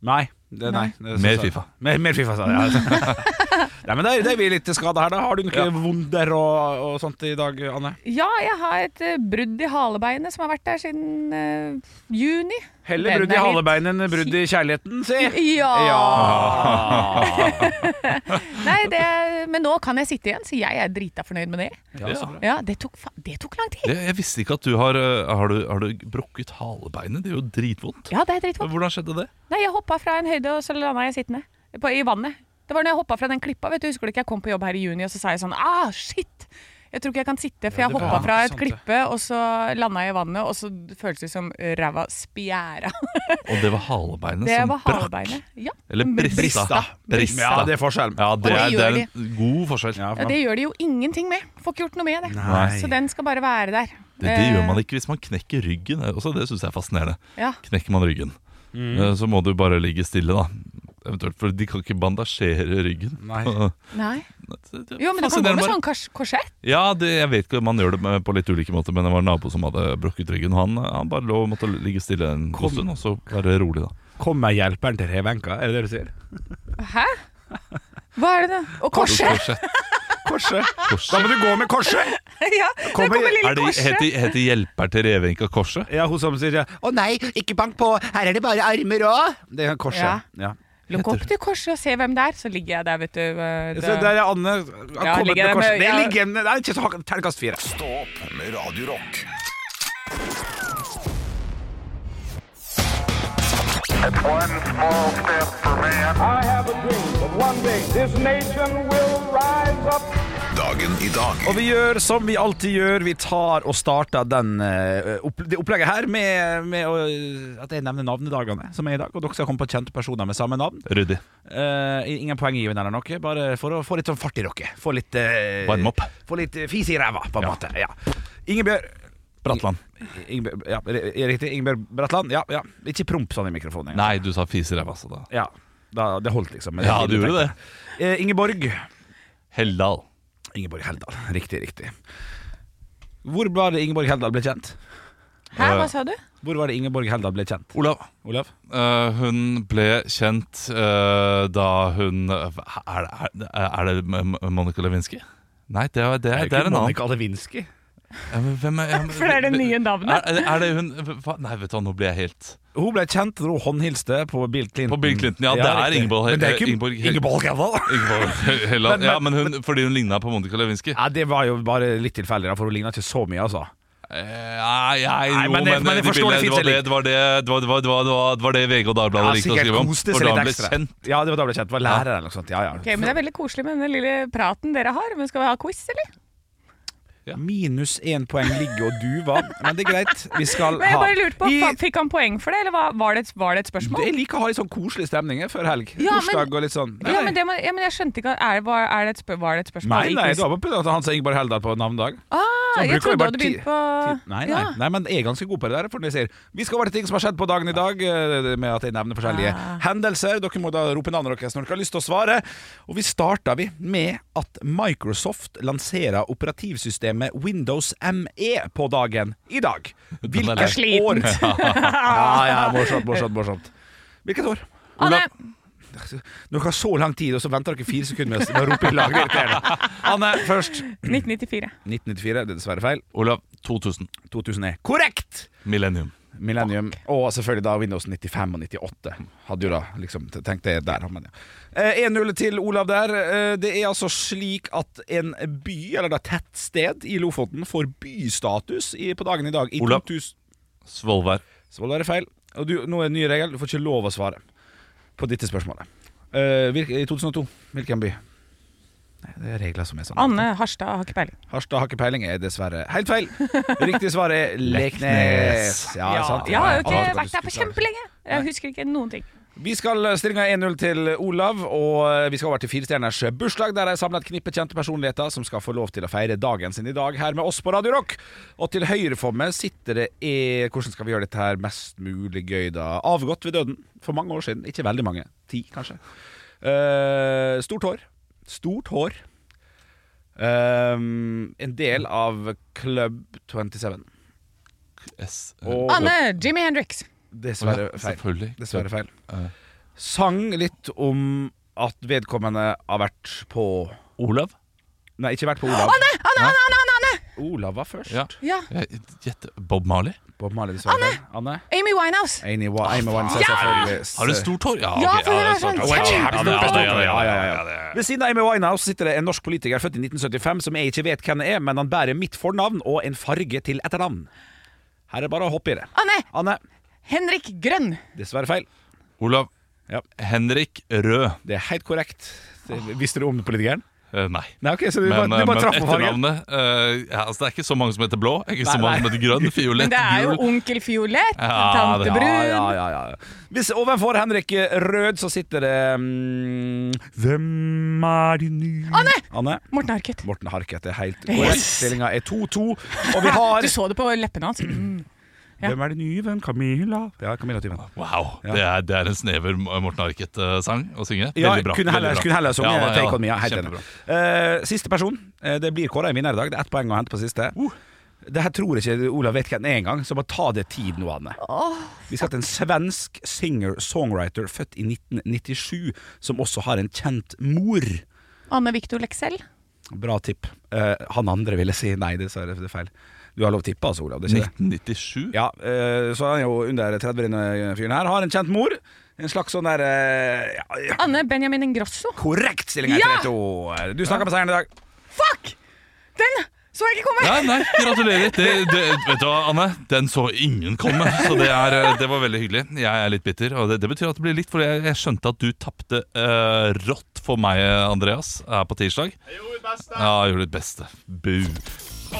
Speaker 2: Nei. Det, nei. det-
Speaker 6: Mer
Speaker 2: så-
Speaker 6: FIFA.
Speaker 2: Mer, mer Fifa, sa jeg. Ja. nei, men det, det er vi litt til skade her, da. Har du noen vonder og, og sånt i dag, Anne?
Speaker 3: Ja, jeg har et eh, brudd i halebeinet som har vært der siden eh, juni.
Speaker 2: Heller
Speaker 3: Den
Speaker 2: brudd i
Speaker 3: er litt-
Speaker 2: halebeinet enn brudd i kjærligheten, si.
Speaker 3: Ja!
Speaker 2: Ja.
Speaker 3: Nei, det, men nå kan jeg sitte igjen, så jeg er drita fornøyd med det.
Speaker 2: Ja, så bra.
Speaker 3: Ja, Det tok, fa- det tok lang tid.
Speaker 6: Det, jeg visste ikke at du har eh, Har du, har du brukket halebeinet? Det er jo dritvondt.
Speaker 3: Ja, det er dritvondt.
Speaker 6: Hvordan skjedde det?
Speaker 3: Nei, jeg hoppa fra en høyde, og så landa jeg sittende på, i vannet. Det var når jeg hoppa fra den klippa. vet du, Husker du ikke jeg kom på jobb her i juni, og så sa jeg sånn Ah, shit! Jeg tror ikke jeg kan sitte, for jeg
Speaker 2: det var-
Speaker 3: hoppa fra
Speaker 2: ja,
Speaker 3: et
Speaker 2: sant det.
Speaker 3: klippe, og så landa jeg i vannet, og så føltes det som ræva spjæra.
Speaker 6: Og det var halebeinet
Speaker 3: Det
Speaker 6: som
Speaker 3: var halebeinet. Ja.
Speaker 6: Eller brista.
Speaker 2: Brista.
Speaker 6: Brista.
Speaker 2: Ja, det er forskjellen.
Speaker 6: Ja, det,
Speaker 3: det
Speaker 6: er, det
Speaker 3: gjør
Speaker 6: er en god forskjell.
Speaker 2: Ja,
Speaker 3: Ja,
Speaker 2: faen.
Speaker 3: det gjør de jo ingenting med. Får ikke gjort noe med det.
Speaker 2: Nei.
Speaker 3: Så den skal bare være der.
Speaker 6: Det, det gjør
Speaker 3: Eh.
Speaker 6: man ikke hvis man knekker ryggen. Eh, Også det syns jeg er fascinerende.
Speaker 3: Ja.
Speaker 6: Knekker man ryggen,
Speaker 3: Mm.
Speaker 6: eh, så må du bare ligge stille, da. Eventuelt, for de kan ikke bandasjere ryggen.
Speaker 2: Nei.
Speaker 3: Nei.
Speaker 6: Det er
Speaker 3: Jo, men du kan gå
Speaker 6: fascinerende
Speaker 3: med
Speaker 6: bare.
Speaker 3: sånn kors korsett.
Speaker 6: Ja, det, jeg vet ikke, man gjør det med- på litt ulike måter, men det var en nabo som hadde brukket ryggen. og Han, eh, han bare lå og måtte ligge stille en god stund, og så være rolig, da.
Speaker 2: Kommer hjelperen til Revenka, er det det du sier?
Speaker 3: Hæ? Hva er det da? Og korset!
Speaker 6: Korsett.
Speaker 2: Korset.
Speaker 6: Korset.
Speaker 2: Da må du gå med korset!
Speaker 3: ja, der kommer lille
Speaker 6: Er det,
Speaker 3: korset.
Speaker 6: heter, heter hjelper til Revenka Korset?
Speaker 2: Ja, hun som sier ja, 'Å nei, ikke bank på, her er det bare armer òg'. Det er korset.
Speaker 3: Ja.
Speaker 2: Ja.
Speaker 3: Lukk opp til korset og se hvem det er, så ligger jeg der, vet du. eh,
Speaker 2: Så
Speaker 3: det-
Speaker 2: der er Anne. har
Speaker 3: Ja,
Speaker 2: kommet
Speaker 3: ligger
Speaker 2: med
Speaker 3: jeg
Speaker 2: korset.
Speaker 3: med-
Speaker 2: Det
Speaker 3: ja.
Speaker 2: ligger det er ikke så hakket- Terningkast fire.
Speaker 1: Stå opp med Radio Rock.
Speaker 5: One small step for man.
Speaker 7: I have a dream that one day this nation will rise up.
Speaker 1: Dagen i dag.
Speaker 2: Og vi gjør som vi alltid gjør. Vi tar og starter den, eh, opp, det opplegget her med, med å, at jeg nevner navnedagene som er i dag. Og dere skal komme på kjente personer med samme navn.
Speaker 6: Ryddig.
Speaker 2: Eh, ingen poenggivende eller noe, bare for å få litt sånn fart i dere. Få litt, eh,
Speaker 6: Varm opp.
Speaker 2: få litt eh, fis i ræva, på en måte. Ja. Ingebjørg
Speaker 6: Bratland.
Speaker 2: Ingebjørg, ja, er det riktig. Ingebjørg Bratland. Ja, ja. Ikke promp sånn i mikrofonen. engang.
Speaker 6: Nei, du sa fis i ræva, altså. Da.
Speaker 2: Ja, da, det holdt liksom. men
Speaker 6: Ja, du gjorde det.
Speaker 2: Eh, Ingeborg.
Speaker 6: Helldal.
Speaker 2: Ingeborg Heldal. Riktig, riktig. Hvor var det Ingeborg Heldal ble kjent?
Speaker 3: Hæ, hva sa du?
Speaker 2: Hvor var det Ingeborg Heldal ble kjent?
Speaker 6: Olav.
Speaker 2: Olav?
Speaker 6: Eh, hun ble kjent eh, da hun Er det, er- er det M- M- Monica Lewinsky? Nei, det er, det er, det er en annen.
Speaker 2: Lewinsky.
Speaker 6: Ja, men hvem er, ja, men-
Speaker 3: For det er det nye navnet.
Speaker 6: Er, er det hun hva? Nei, vet du hva, nå ble jeg helt
Speaker 2: Hun ble kjent da hun håndhilste på Bill Clinton.
Speaker 6: På Bill Clinton, ja, det er
Speaker 2: riktig.
Speaker 6: Ingeborg-
Speaker 2: Men det er
Speaker 6: eh,
Speaker 2: ikke Ingeborg,
Speaker 6: Ingeborg Hel-
Speaker 2: Heldal.
Speaker 6: Ingeborg Helland.
Speaker 2: Men- men-
Speaker 6: Ja, men hun, fordi hun ligna på Monica Lewinsky?
Speaker 2: Ja, det var jo bare litt tilfeldig, da, for hun ligna ikke så mye, altså.
Speaker 6: Eh, Nei, jeg,
Speaker 2: Nei,
Speaker 6: jo,
Speaker 2: men
Speaker 6: men,
Speaker 2: det- men det
Speaker 6: de
Speaker 2: forstår
Speaker 6: bildene,
Speaker 2: det
Speaker 6: det, var
Speaker 2: finnes
Speaker 6: det, det, var det, det, var, det, var, det, var, det, var, det var det VG og Dagbladet
Speaker 2: Ja,
Speaker 6: likte å
Speaker 2: sikkert
Speaker 6: skrive om.
Speaker 2: koste
Speaker 6: for
Speaker 2: seg
Speaker 6: da
Speaker 2: litt
Speaker 6: ble
Speaker 2: ekstra.
Speaker 6: kjent.
Speaker 2: Ja, det var da hun ble kjent. Var lærer eller noe sånt. Ja, ja.
Speaker 3: Ok, men Det er veldig koselig med den lille praten dere har. Men Skal vi ha quiz, eller?
Speaker 2: Minus én poeng ligger og duva, men det er greit. Vi skal
Speaker 3: Men jeg
Speaker 2: ha
Speaker 3: bare lurte på,
Speaker 2: I-
Speaker 3: fa- Fikk han poeng for det, eller hva- var det et, var det et spørsmål?
Speaker 2: Jeg liker å ha litt sånn koselig stemning jeg, før helg.
Speaker 3: Ja, men-
Speaker 2: Torsdag og litt sånn.
Speaker 3: ja, men det må, ja, men jeg skjønte ikke at- er, det- var, er det et spør, var det et spørsmål?
Speaker 2: Nei,
Speaker 3: i
Speaker 2: nei,
Speaker 3: quiz?
Speaker 2: det var bare pga. at han sa Ingeborg Heldal på navnedag.
Speaker 3: ah,
Speaker 2: Man
Speaker 3: jeg
Speaker 2: bruker jo
Speaker 3: trodde du
Speaker 2: bare
Speaker 3: hadde
Speaker 2: ti-
Speaker 3: begynt på
Speaker 2: ti- Nei, nei,
Speaker 3: Ja.
Speaker 2: nei, men jeg er ganske god på det der. For når jeg sier vi skal over til ting som har skjedd på dagen i dag, eh, med at jeg nevner forskjellige
Speaker 3: Ah.
Speaker 2: hendelser. Dere må da rope navnet deres når dere har lyst til å svare. Og vi starter vi med at Microsoft lanserer operativsystemet Windows ME på dagen i dag.
Speaker 6: er
Speaker 2: Hvilket
Speaker 3: lei.
Speaker 2: år? Ja, ja, morsomt, morsomt, morsomt. Hvilket år?
Speaker 3: Anne!
Speaker 2: Dere har så lang tid, og så venter dere fire sekunder med å- med å rope i lag. Det er irriterende. Anne først.
Speaker 3: 1994.
Speaker 2: 1994, det er dessverre feil.
Speaker 6: Olav, 2000.
Speaker 2: 2000 er korrekt!
Speaker 6: Millennium.
Speaker 2: Millennium, og selvfølgelig da Windows 95 og 98. Hadde jo da liksom t- tenkt det der. Men ja. Eh, 1-0 til Olav der. Eh, Det er altså slik at en by, eller da tettsted i Lofoten, får bystatus i, på dagen i dag. I
Speaker 6: Olav.
Speaker 2: 2000
Speaker 6: Svolvær.
Speaker 2: Så var det feil. Og du, nå er en ny regel, du får ikke lov å svare på dette spørsmålet. Eh, hvil- I 2002, hvilken by? Nei, det er regler som er sånn.
Speaker 3: Anne Harstad har ikke peiling.
Speaker 2: Harstad har ikke peiling, er dessverre helt feil. Riktig svar er Leknes. Ja, sant.
Speaker 3: jeg har
Speaker 2: Ja,
Speaker 3: jo ikke
Speaker 2: ja.
Speaker 3: vært der for kjempelenge. Jeg husker ikke noen ting.
Speaker 2: Vi skal eh, stringa 1-0 til Olav, og eh, vi skal over til Firestjerners bursdag, der jeg samla et knippe kjente personligheter som skal få lov til å feire dagen sin i dag her med oss på Radio Rock. Og til høyre for meg sitter det e Hvordan skal vi gjøre dette her mest mulig gøy, da? Avgått ved døden for mange år siden. Ikke veldig mange. Ti, kanskje. Eh, stort hår. Stort hår. Eh, en del av Club 27.
Speaker 6: S.
Speaker 2: Og
Speaker 3: Anne! Jimmy Hendrix.
Speaker 2: dessverre
Speaker 6: Å ja,
Speaker 2: feil.
Speaker 6: Selvfølgelig.
Speaker 2: Dessverre feil.
Speaker 6: Eh,
Speaker 2: sang litt om at vedkommende har vært på
Speaker 6: Olav?
Speaker 2: Nei, ikke vært på Olav.
Speaker 3: Anne! Anne, Anne, Anne! Anne, Anne!
Speaker 2: Olav var først.
Speaker 6: Ja.
Speaker 3: Ja.
Speaker 6: Jeg gjetter Bob Marley.
Speaker 2: Bob Marley, dessverre. feil. Anne.
Speaker 3: Amy Winehouse.
Speaker 2: Amy Wa- Amy Winehouse,
Speaker 3: Ja!
Speaker 2: selvfølgelig.
Speaker 6: Har du stort hår?
Speaker 3: Ja,
Speaker 6: ok,
Speaker 3: for det er
Speaker 6: stort
Speaker 3: sånn
Speaker 6: hår. Ja,
Speaker 3: kjempe-
Speaker 6: ja, ja, ja, ja, ja, ja, ja, ja.
Speaker 2: Ved siden av Amy Winehouse sitter det en norsk politiker født i 1975 som jeg ikke vet hvem er, men han bærer mitt fornavn og en farge til etternavn. Her er det bare å hoppe i det.
Speaker 3: Anne!
Speaker 2: Anne.
Speaker 3: Henrik Grønn.
Speaker 2: Dessverre feil.
Speaker 6: Olav.
Speaker 2: Ja.
Speaker 6: Henrik Rød.
Speaker 2: Det er helt korrekt. Det- Visste du om politikeren?
Speaker 6: Eh, nei.
Speaker 2: Nei, ok, så du bare,
Speaker 6: Men,
Speaker 2: du
Speaker 6: eh,
Speaker 2: bare
Speaker 6: men
Speaker 2: traff på fargen.
Speaker 6: etternavnet eh, ja, altså Det er ikke så mange som heter blå. Ikke så
Speaker 2: Nei,
Speaker 6: mange
Speaker 2: nei.
Speaker 6: som heter grønn,
Speaker 3: Men
Speaker 6: fiolett,
Speaker 3: det er jo
Speaker 6: gul.
Speaker 3: onkel Fiolett,
Speaker 6: Ja, det-
Speaker 3: tante Brun.
Speaker 2: Ja, ja, ja, ja. Hvis ovenfor Henrik Rød så sitter det mm, Hvem er du nå?
Speaker 3: Anne!
Speaker 2: Anne.
Speaker 3: Morten Harket.
Speaker 2: Morten Harket er helt
Speaker 3: Yes.
Speaker 2: korrekt. Stillinga er 2-2. Og vi har
Speaker 3: Du så det på leppene hans. Mm. ja.
Speaker 2: Hvem er det nye? Hvem? Camilla? Ja, Camilla Tyven.
Speaker 6: Wow,
Speaker 2: Ja.
Speaker 6: det, er, det er en snever Morten Arket-sang å synge.
Speaker 2: Ja,
Speaker 6: Veldig bra.
Speaker 2: kunne heller,
Speaker 6: veldig bra.
Speaker 2: kunne heller sunget
Speaker 6: Ja, da, ja,
Speaker 2: Take On Me. Ja, helt enig.
Speaker 6: kjempebra.
Speaker 2: Eh, siste person. Eh, det blir kåra en vinner i dag. Det er ett poeng å hente på siste.
Speaker 6: Uh.
Speaker 2: Det her tror jeg ikke Olav vet hvem er engang, så bare ta det tid nå, Anne. Vi skal til en svensk singer-songwriter født i 1997, som også har en kjent mor.
Speaker 3: Anne Victor Leksell.
Speaker 2: Bra tipp. Eh, han andre ville si nei, dessverre, det er feil. Du har lov å tippe, altså, Olav. Det er ikke det.
Speaker 6: 1997.
Speaker 2: Ja, eh, så han er jo under 30 denne fyren her. Har en kjent mor. En slags sånn der eh, ja, ja,
Speaker 3: Anne Benjamin Ingrosso.
Speaker 2: Korrekt stilling er
Speaker 3: Ja!
Speaker 2: 3-2. Du snakka med seieren i dag.
Speaker 3: Fuck! Den så jeg ikke komme!
Speaker 6: Nei, nei, gratulerer. Det, det, vet du hva, Anne? Den så ingen komme. Så det, er, eh, det var veldig hyggelig. Jeg er litt bitter, og det, det betyr at det blir likt, for jeg, jeg skjønte at du tapte eh, rått for meg, Andreas, her på tirsdag. Jeg gjorde mitt beste. Ja, jeg gjorde ditt beste. Bu.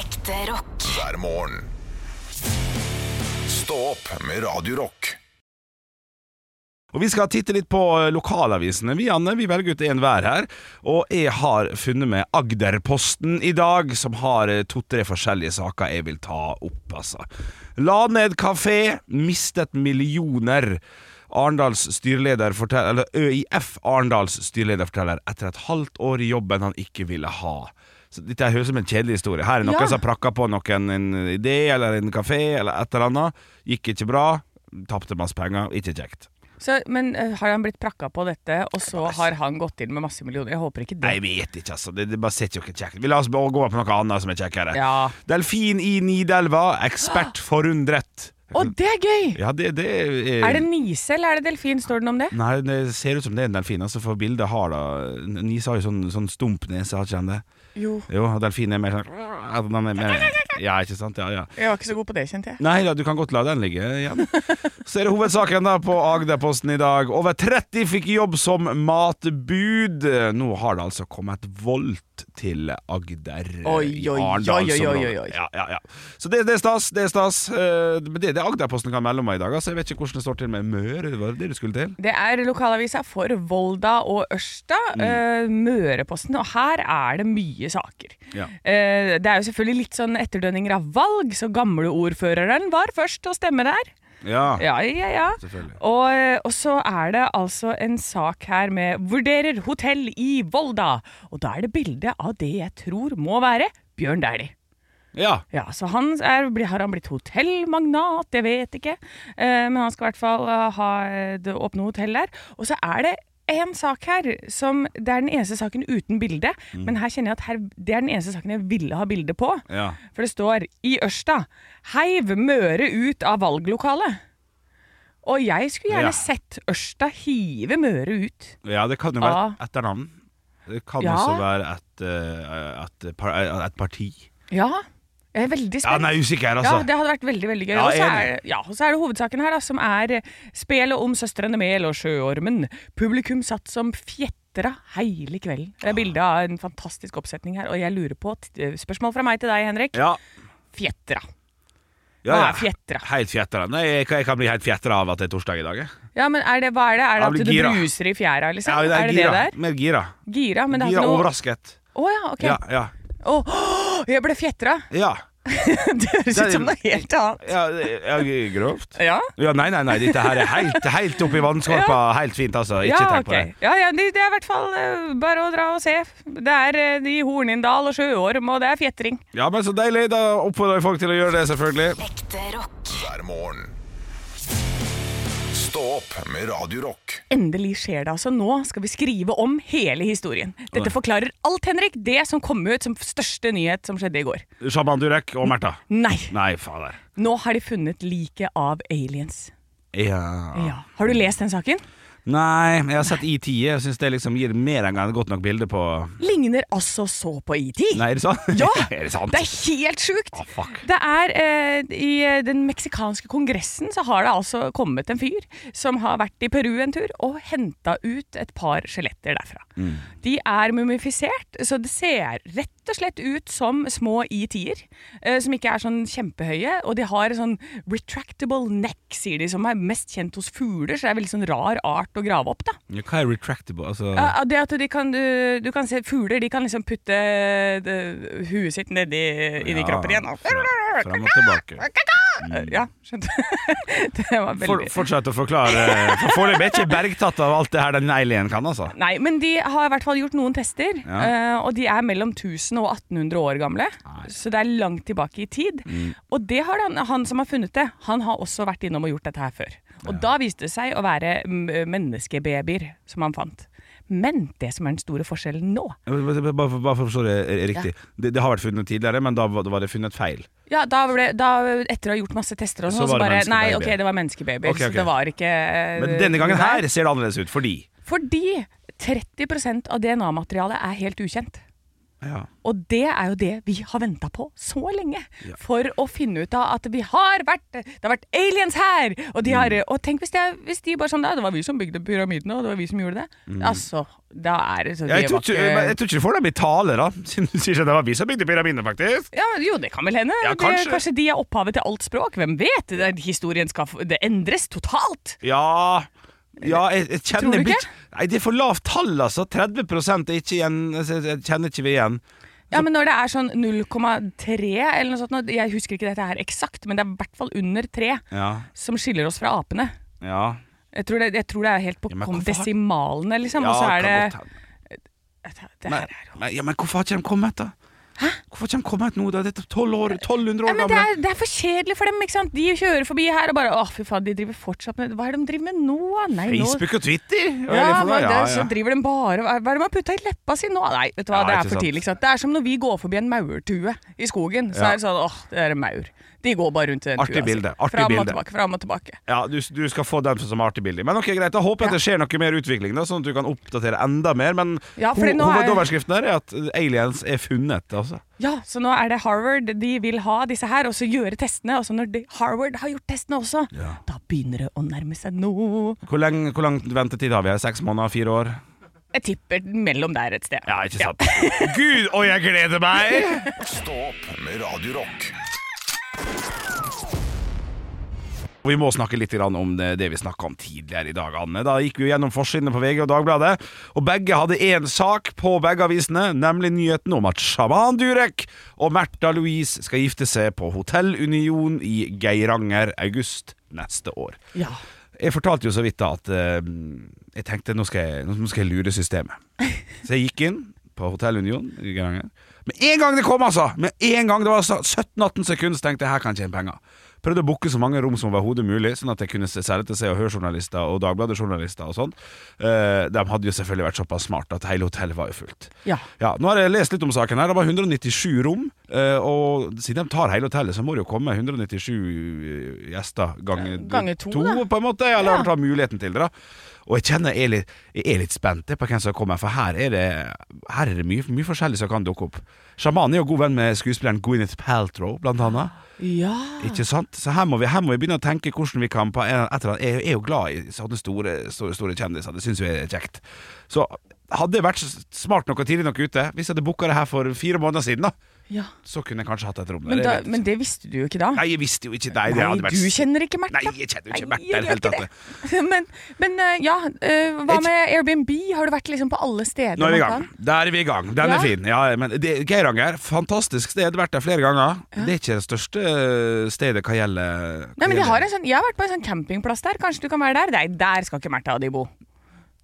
Speaker 8: Ekte rock.
Speaker 1: hver morgen. Stå opp med Radio Rock.
Speaker 2: Og Vi skal titte litt på eh, lokalavisene. Vi Anne, vi velger ut en hver her. Og jeg har funnet med Agderposten i dag, som har eh, to-tre forskjellige saker jeg vil ta opp. altså. La ned kafé, mistet millioner. Arendals styreleder forteller, eller ØIF Arendals styreleder forteller etter et halvt år i jobben han ikke ville ha. Så Dette høres ut som en kjedelig historie. Her er noen
Speaker 3: Ja.
Speaker 2: som har prakka på noen en idé eller en kafé eller et eller annet. Gikk ikke bra. Tapte masse penger. Ikke kjekt.
Speaker 3: Så, men eh, har han blitt prakka på dette, og så har han gått inn med masse millioner? Jeg håper ikke det.
Speaker 2: Nei, jeg vet ikke, altså. Det, det bare ser ikke kjekt Vi La oss bare gå over på noe annet som er kjekkere.
Speaker 3: Ja.
Speaker 2: Delfin i Nidelva. Ekspert forundret.
Speaker 3: Å, det er gøy!
Speaker 2: Ja, det, det er,
Speaker 3: Er det nise eller er det delfin? Står det noe om det?
Speaker 2: Nei, det ser ut som det er en delfin, altså, for bildet har da Nise har jo sånn, sånn stump nese, har ikke han det?
Speaker 3: Jo.
Speaker 2: Jo, og delfin er mer sånn ja, den er mer, Ja, ikke sant? Ja, ja.
Speaker 3: Jeg var ikke så god på det, kjente jeg.
Speaker 2: Nei da, du kan godt la den ligge igjen. Så er det hovedsaken da på Agderposten i dag. Over 30 fikk jobb som matbud. Nå har det altså kommet voldt til Agder. eh,
Speaker 3: Oi,
Speaker 2: i
Speaker 3: oi, oi,
Speaker 2: Arendalsområdet.
Speaker 3: oi, oi, oi.
Speaker 2: Ja, ja, ja. Så det, det er stas. Det er stas. Eh, Men det er det Agderposten kan melde om i dag. Altså, jeg vet ikke hvordan det står til med Møre. Var det det du skulle til?
Speaker 3: Det er lokalavisa for Volda og Ørsta, eh, Møreposten, og her er det mye saker.
Speaker 2: Ja.
Speaker 3: Eh, det er jo selvfølgelig litt sånn etterdønninger utlendinger av valg, så gamleordføreren var først til å stemme der.
Speaker 2: Ja,
Speaker 3: Ja, ja, ja.
Speaker 2: selvfølgelig.
Speaker 3: Og, og så er det altså en sak her med 'Vurderer hotell i Volda'. Og da er det bilde av det jeg tror må være Bjørn Dæhlie.
Speaker 2: Ja.
Speaker 3: Ja, så han er, blir- har han blitt hotellmagnat, jeg vet ikke. Eh, men han skal i hvert fall eh, ha eh, det åpne hotell der. Og så er det en sak her som Det er den eneste saken uten bilde,
Speaker 2: Mm.
Speaker 3: men her kjenner jeg at her, det er den eneste saken jeg ville ha bilde på.
Speaker 2: Ja.
Speaker 3: For det står i Ørsta 'Heiv Møre ut av valglokalet'. Og jeg skulle
Speaker 2: Ja.
Speaker 3: gjerne sett Ørsta hive Møre ut.
Speaker 2: ja, det kan jo være
Speaker 3: Ah.
Speaker 2: et etternavn. Det kan
Speaker 3: Ja.
Speaker 2: også være et, eh, et, par, et parti.
Speaker 3: Ja, jeg er veldig
Speaker 2: Ja,
Speaker 3: spent.
Speaker 2: nei, usikker,
Speaker 3: Ja,
Speaker 2: altså.
Speaker 3: det hadde vært veldig veldig gøy.
Speaker 2: Ja,
Speaker 3: og, så
Speaker 2: enig.
Speaker 3: er, ja, og så er det hovedsaken her, da, som er eh, spelet om Søstrene Mel og Sjøormen. Publikum satt som fjetra hele kvelden. Det er bilde av en fantastisk oppsetning her, og jeg lurer på t- eh, Spørsmål fra meg til deg, Henrik.
Speaker 2: Ja,
Speaker 3: Fjetra.
Speaker 2: ja,
Speaker 3: Hva
Speaker 2: ja.
Speaker 3: er fjetra?
Speaker 2: Helt fjetra. Nei, jeg, jeg kan bli helt fjetra av at det er torsdag i dag. jeg.
Speaker 3: Ja, men er det, hva er det? Er
Speaker 2: Jeg
Speaker 3: det
Speaker 2: blir
Speaker 3: at du
Speaker 2: gira.
Speaker 3: bruser i fjæra, liksom?
Speaker 2: Ja,
Speaker 3: er, det det
Speaker 2: gira.
Speaker 3: det er?
Speaker 2: Mer gira.
Speaker 3: Gira, men det er
Speaker 2: gira
Speaker 3: ikke noe
Speaker 2: overrasket.
Speaker 3: Å ja, ok.
Speaker 2: Ja, ja.
Speaker 3: Å, jeg ble fjetra!
Speaker 2: Ja.
Speaker 3: Det høres
Speaker 2: Det er-
Speaker 3: ut som noe helt annet.
Speaker 2: ja, det- ja grovt.
Speaker 3: Ja?
Speaker 2: Ja, nei, nei, nei, dette her er helt, helt oppi vannskorpa. Helt fint, altså. Ikke
Speaker 3: ja,
Speaker 2: tenk på
Speaker 3: ok.
Speaker 2: det.
Speaker 3: Ja, ja, det, det er i hvert fall eh, bare å dra og se. Det er eh, i Hornindal og Sjøorm, og det er fjetring.
Speaker 2: Ja, men så deilig. Da oppfordrer vi folk til å gjøre det, selvfølgelig.
Speaker 8: Ekte rock.
Speaker 1: hver morgen. Stå opp med Radio Rock.
Speaker 3: Endelig skjer det altså. Nå skal vi skrive om hele historien. Dette forklarer alt, Henrik. Det som kom ut som største nyhet som skjedde i går.
Speaker 2: Shaman Durek og Märtha.
Speaker 3: Nei,
Speaker 2: Nei, fader.
Speaker 3: nå har de funnet liket av aliens.
Speaker 2: Ja.
Speaker 3: Ja. Har du lest den saken?
Speaker 2: Nei, jeg har sett I10. Jeg syns det liksom gir mer enn et godt nok bilde på
Speaker 3: Ligner altså så på ET.
Speaker 2: Nei, er det sant?
Speaker 3: Ja,
Speaker 2: er det sant?
Speaker 3: Det er helt sjukt!
Speaker 2: Ah, fuck.
Speaker 3: Det er eh, I eh, den meksikanske kongressen så har det altså kommet en fyr som har vært i Peru en tur og henta ut et par skjeletter derfra. De er mumifisert, så det ser rett og slett ut som små E-tier, eh, som ikke er sånn kjempehøye. Og de har sånn retractable neck, sier de, som er mest kjent hos fugler, så det er veldig sånn rar art å grave opp, da.
Speaker 2: Ja, Hva er retractable? Altså
Speaker 3: Ja, ja, det at de kan, du, du kan se fugler, de kan liksom putte det, huet sitt nedi inni
Speaker 2: Ja,
Speaker 3: kroppen igjen. og-
Speaker 2: fra- Fram og tilbake.
Speaker 3: Eh, Ja, skjønte. det var veldig
Speaker 2: Mm. For, fortsett å forklare. For Foreløpig er ikke bergtatt av alt det her den alien kan, altså.
Speaker 3: Nei, men de har i hvert fall gjort noen tester,
Speaker 2: Ja.
Speaker 3: eh, og de er mellom 1000 og 1800 år gamle. Så det er langt tilbake i tid.
Speaker 2: Mm.
Speaker 3: Og det har han, han som har funnet det, han har også vært innom og gjort dette her før. Og da viste det seg å være mm, menneskebabyer som han fant. Men det som er den store forskjellen nå
Speaker 2: Bare, bare, bare for å forstå det riktig. Det, det har vært funnet tidligere, men da var da var det funnet feil.
Speaker 3: Ja, da ble, da, etter å ha gjort masse tester og
Speaker 2: Så
Speaker 3: sånn, så,
Speaker 2: var det
Speaker 3: bare Nei, ok,
Speaker 2: menneskebabyer.
Speaker 3: det var menneskebabyer.
Speaker 2: Ok, ok.
Speaker 3: Så det var ikke eh,
Speaker 2: Men denne gangen
Speaker 3: det
Speaker 2: her ser det annerledes ut, fordi
Speaker 3: Fordi 30 av DNA-materialet er helt ukjent.
Speaker 2: ja.
Speaker 3: Og det er jo det vi har venta på så lenge. For å finne ut av at vi har vært Det har vært aliens her! Og, de
Speaker 2: Mm.
Speaker 3: har, og tenk hvis, det, er- hvis de bare sånn da, Det var vi som bygde pyramidene, og det var vi som gjorde det. Altså, da er det så
Speaker 2: Mm. Jeg
Speaker 3: det
Speaker 2: tror,
Speaker 3: var
Speaker 2: ikke,
Speaker 3: ikke-
Speaker 2: men jeg tror ikke du får dem i tale, da. Siden du sier at det var vi som bygde pyramidene, faktisk.
Speaker 3: Ja, men jo, det kan vel hende.
Speaker 2: Ja, kanskje.
Speaker 3: Det, kanskje de er opphavet til alt språk. Hvem vet? Det, er- historien skal f- det endres totalt.
Speaker 2: Ja ja, jeg, jeg kjenner
Speaker 3: Tror du ikke?
Speaker 2: bit- Nei, Det er for lavt tall, altså. 30 er ikke igjen altså, Jeg kjenner ikke vi igjen.
Speaker 3: Ja, men når det er sånn 0,3 eller noe sånt, nå, jeg husker ikke dette her eksakt, men det er i hvert fall under 3
Speaker 2: Ja.
Speaker 3: som skiller oss fra apene.
Speaker 2: Ja.
Speaker 3: Jeg tror det, jeg tror det er helt på
Speaker 2: Ja, men
Speaker 3: kom-
Speaker 2: hvorfor har-
Speaker 3: desimalene, liksom.
Speaker 2: ja
Speaker 3: og så er det,
Speaker 2: kan godt hende.
Speaker 3: det, det
Speaker 2: men,
Speaker 3: her er jo
Speaker 2: men, ja, men hvorfor har ikke de kommet, da? Hvorfor har ikke de kommet nå, da? Dette er 12 år, 1200
Speaker 3: ja,
Speaker 2: år
Speaker 3: men det,
Speaker 2: gamle.
Speaker 3: er, det er for kjedelig for dem. ikke sant? De kjører forbi her og bare Å, fy faen, de driver fortsatt med Hva er det de driver med nå? Nei, nå
Speaker 2: Facebook og Twitter. og
Speaker 3: ja,
Speaker 2: hele
Speaker 3: men det,
Speaker 2: fornøyd.
Speaker 3: Så driver de bare Hva hva er det man putter i leppa si nå? Nei, vet du hva,
Speaker 2: Ja,
Speaker 3: det
Speaker 2: ikke
Speaker 3: er for
Speaker 2: sant.
Speaker 3: tidlig. ikke sant? Det er som når vi går forbi en maurtue i skogen. Så
Speaker 2: Ja.
Speaker 3: er det sånn åh, det er en maur. De går bare rundt i den
Speaker 2: Artig
Speaker 3: tua. si.
Speaker 2: bilde, artig
Speaker 3: fram
Speaker 2: bilde.
Speaker 3: og tilbake, fram og tilbake.
Speaker 2: Ja, du, du skal få den som artig bilde. Men ok, greit, da håper jeg at det skjer noe mer utvikling, da, sånn at du kan oppdatere enda mer. Men
Speaker 3: Ja, for
Speaker 2: ho
Speaker 3: det nå er-
Speaker 2: hovedoverskriften her er at aliens er funnet, altså.
Speaker 3: Ja, så nå er det Harvard de vil ha disse her, og så gjøre testene. Og så når de, Harvard har gjort testene også, da begynner det å nærme seg noe.
Speaker 2: Hvor lenge, hvor lang ventetid har vi her? Seks måneder? Fire år?
Speaker 3: Jeg tipper mellom der et sted.
Speaker 2: Ja, ikke sant? Gud, og jeg gleder meg!
Speaker 1: Stå opp med Radio Rock.
Speaker 2: Og vi må snakke litt grann om det, det vi snakka om tidligere i dag, Anne. Da gikk vi gjennom forsidene på VG og Dagbladet, og begge hadde én sak på begge avisene, nemlig nyheten om at sjaman Durek og Märtha Louise skal gifte seg på Hotell Union i Geiranger august neste år.
Speaker 3: Ja.
Speaker 2: Jeg fortalte jo så vidt da at eh, jeg tenkte nå skal jeg, nå skal jeg lure systemet. Så jeg gikk inn på Hotell Union i Geiranger. Med en gang det kom, altså! Med en gang det var altså 17-18 sekunder, så tenkte jeg her kan jeg tjene penger. Prøvde å booke så mange rom som overhodet mulig, sånn at jeg kunne se- selge til Se og Hør-journalister og Dagbladet-journalister og sånn. Eh, de hadde jo selvfølgelig vært såpass smart at hele hotellet var jo fullt.
Speaker 3: Ja.
Speaker 2: Ja, Nå har jeg lest litt om saken. her Det var 197 rom. eh, Og siden de tar hele hotellet, så må det jo komme 197 eh, gjester ganger,
Speaker 3: Ganger to, da.
Speaker 2: på en måte. Eller ja.
Speaker 3: Ja.
Speaker 2: ta muligheten til det. da Og jeg kjenner jeg er litt, jeg er litt spent jeg, på hvem som kommer, for her er det, her er det mye, mye forskjellig som kan dukke opp. Sjamanen er jo god venn med skuespilleren Gwyneth Paltrow, blant annet.
Speaker 3: ja.
Speaker 2: Ikke sant? Så her må, vi, her må vi begynne å tenke hvordan vi kan på en, et eller annet. Jeg er jo glad i sånne store, store, store kjendiser, det syns jeg er kjekt. Så hadde jeg vært s- smart nok og tidlig nok ute, hvis jeg hadde booka det her for fire måneder siden, da,
Speaker 3: ja.
Speaker 2: så kunne jeg kanskje hatt et rom der.
Speaker 3: Men,
Speaker 2: jeg
Speaker 3: da,
Speaker 2: vet
Speaker 3: men
Speaker 2: ikke.
Speaker 3: det visste du jo ikke da.
Speaker 2: Nei, jeg visste jo ikke det. det
Speaker 3: Nei,
Speaker 2: hadde vært-
Speaker 3: du kjenner ikke Märtha.
Speaker 2: Nei, jeg kjenner jo ikke
Speaker 3: Nei,
Speaker 2: Märtha i det
Speaker 3: jeg
Speaker 2: hele
Speaker 3: gjør
Speaker 2: tatt.
Speaker 3: ikke Men, men eh, ja, eh, hva
Speaker 2: Jeg-
Speaker 3: med Airbnb? Har du vært liksom på alle steder?
Speaker 2: Nå er vi i
Speaker 3: man
Speaker 2: gang.
Speaker 3: kan?
Speaker 2: Der er vi i gang. Den
Speaker 3: Ja.
Speaker 2: er fin. Ja, men det, Geiranger, fantastisk sted. Vært der flere ganger. Det er ikke det største øh, stedet hva gjelder hva
Speaker 3: Nei, men de
Speaker 2: gjelder-
Speaker 3: har en sånn, Jeg har vært på en sånn campingplass der. Kanskje du kan være der? Nei, der skal ikke Märtha og de bo.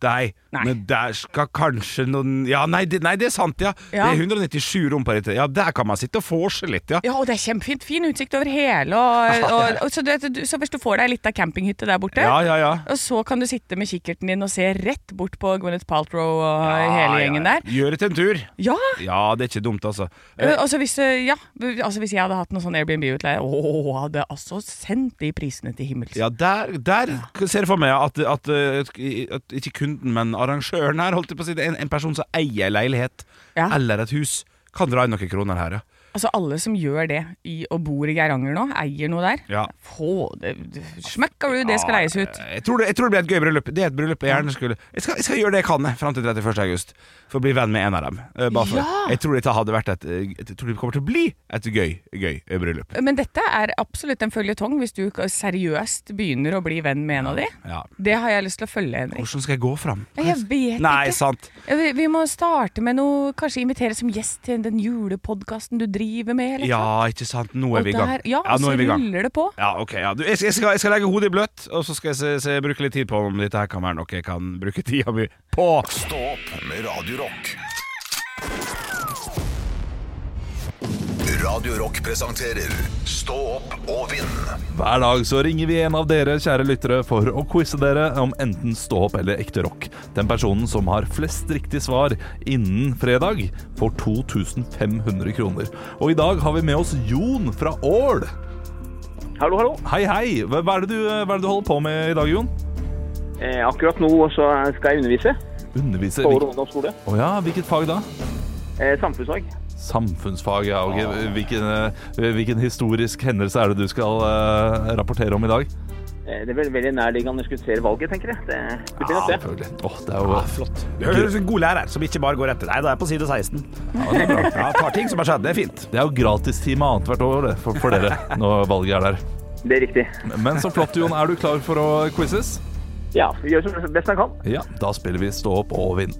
Speaker 2: Nei,
Speaker 3: Nei.
Speaker 2: men der skal kanskje noen Ja, nei, det, nei, det er sant, ja.
Speaker 3: Ja.
Speaker 2: Det er 197 rom på dette. Ja, der kan man sitte og forse litt, ja.
Speaker 3: Ja, og det er kjempefint. Fin utsikt over hele. Og, og, og, så, du, vet, du- så hvis du får deg ei lita campinghytte der borte,
Speaker 2: Ja, ja, ja.
Speaker 3: og så kan du sitte med kikkerten din og se rett bort på Gwyneth Paltrow og hele gjengen der.
Speaker 2: Gjør det til en tur.
Speaker 3: Ja!
Speaker 2: Ja, det er ikke dumt, altså.
Speaker 3: Eh,
Speaker 2: Eh,
Speaker 3: Altså hvis, eh, ja, altså hvis jeg hadde hatt noe sånn Airbnb-utleie, åh, hadde jeg altså sendt de prisene til himmels.
Speaker 2: Ja, der, der ser jeg for meg at, at, at, at ikke kunden, men arrangøren her, holdt jeg på å si, det er en, en person som eier en leilighet
Speaker 3: Ja.
Speaker 2: eller et hus, kan dra inn noen kroner her, ja.
Speaker 3: Altså alle som gjør det i, og bor i Geiranger nå, eier noe der.
Speaker 2: Ja.
Speaker 3: Få det, smekka du, det skal leies ut.
Speaker 2: Ah, Jeg tror, det, jeg tror det blir et gøy bryllup. Det er et bryllup jeg gjerne skulle Jeg skal, jeg skal gjøre det jeg kan jeg, fram til 31. august for å bli venn med en av dem. Eh, bare for.
Speaker 3: Ja.
Speaker 2: Jeg tror dette hadde vært et eh, Jeg tror det kommer til å bli et gøy, gøy eh, bryllup.
Speaker 3: Men dette er absolutt en føljetong hvis du seriøst begynner å bli venn med en av de.
Speaker 2: Ja.
Speaker 3: Det har jeg lyst til å følge, Henrik.
Speaker 2: Hvordan skal jeg gå fram?
Speaker 3: Nei, Jeg vet
Speaker 2: Nei,
Speaker 3: ikke.
Speaker 2: sant.
Speaker 3: Vi, vi må starte med noe, kanskje invitere som gjest til den julepodkasten du driver med. Eller?
Speaker 2: Ja, ikke sant. Nå
Speaker 3: Og
Speaker 2: er vi i gang.
Speaker 3: der- Ja,
Speaker 2: nå er vi i
Speaker 3: så
Speaker 2: gang.
Speaker 3: ruller det på.
Speaker 2: Ja, ok. Ja. Du, jeg, skal- jeg, skal, jeg skal legge hodet i bløt, og så skal jeg se, se, bruke litt tid på om dette her kan være noe jeg kan bruke tida mi på.
Speaker 1: Stå opp med Radio Rock. Radio Rock presenterer Stå opp og vinn.
Speaker 6: Hver dag så ringer vi en av dere, kjære lyttere, for å quize dere om enten stå-opp eller ekte rock. Den personen som har flest riktig svar innen fredag, får 2500 kroner. Og i dag har vi med oss Jon fra Ål.
Speaker 8: Hallo, hallo.
Speaker 6: Hei, hei. Hva hva er det du, hva er det du holder på med i dag, Jon?
Speaker 8: Eh, akkurat nå så skal jeg undervise
Speaker 6: Underviser
Speaker 8: på
Speaker 6: Å
Speaker 8: Åre ungdomsskole.
Speaker 6: ja, hvilket fag da?
Speaker 8: Eh, samfunnsfag.
Speaker 6: Samfunnsfag, ja. ok.
Speaker 8: Ah.
Speaker 6: Hvilken, eh, hvilken historisk hendelse er det du skal eh, rapportere om i dag?
Speaker 8: Eh, det er vel veldig nærliggende å diskutere valget, tenker jeg. Det, det blir nok det.
Speaker 6: selvfølgelig. Åh, det
Speaker 8: Ah,
Speaker 6: er jo flott.
Speaker 2: Det høres ut som en god lærer som ikke bare går etter. Nei, da er jeg på side 16. Ja, tar ting som har skjedd. Det er fint.
Speaker 6: Det er jo gratistime annethvert år det, for, for dere når valget er der.
Speaker 8: Det er riktig.
Speaker 6: Men så flott, Jon. Er du klar for å quizes?
Speaker 8: Ja, vi gjør som best man kan.
Speaker 6: Ja, da spiller vi Stå opp og vinn.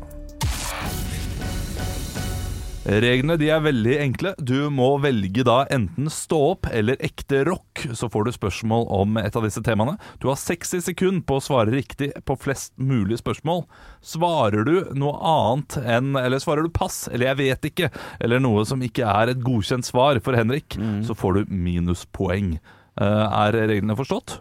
Speaker 6: Reglene de er veldig enkle. Du må velge da enten stå opp eller ekte rock. Så får du spørsmål om et av disse temaene. Du har 60 sekunder på å svare riktig på flest mulig spørsmål. Svarer du noe annet enn Eller svarer du pass eller jeg vet ikke, eller noe som ikke er et godkjent svar for Henrik, så får du minuspoeng. Eh, Er reglene forstått?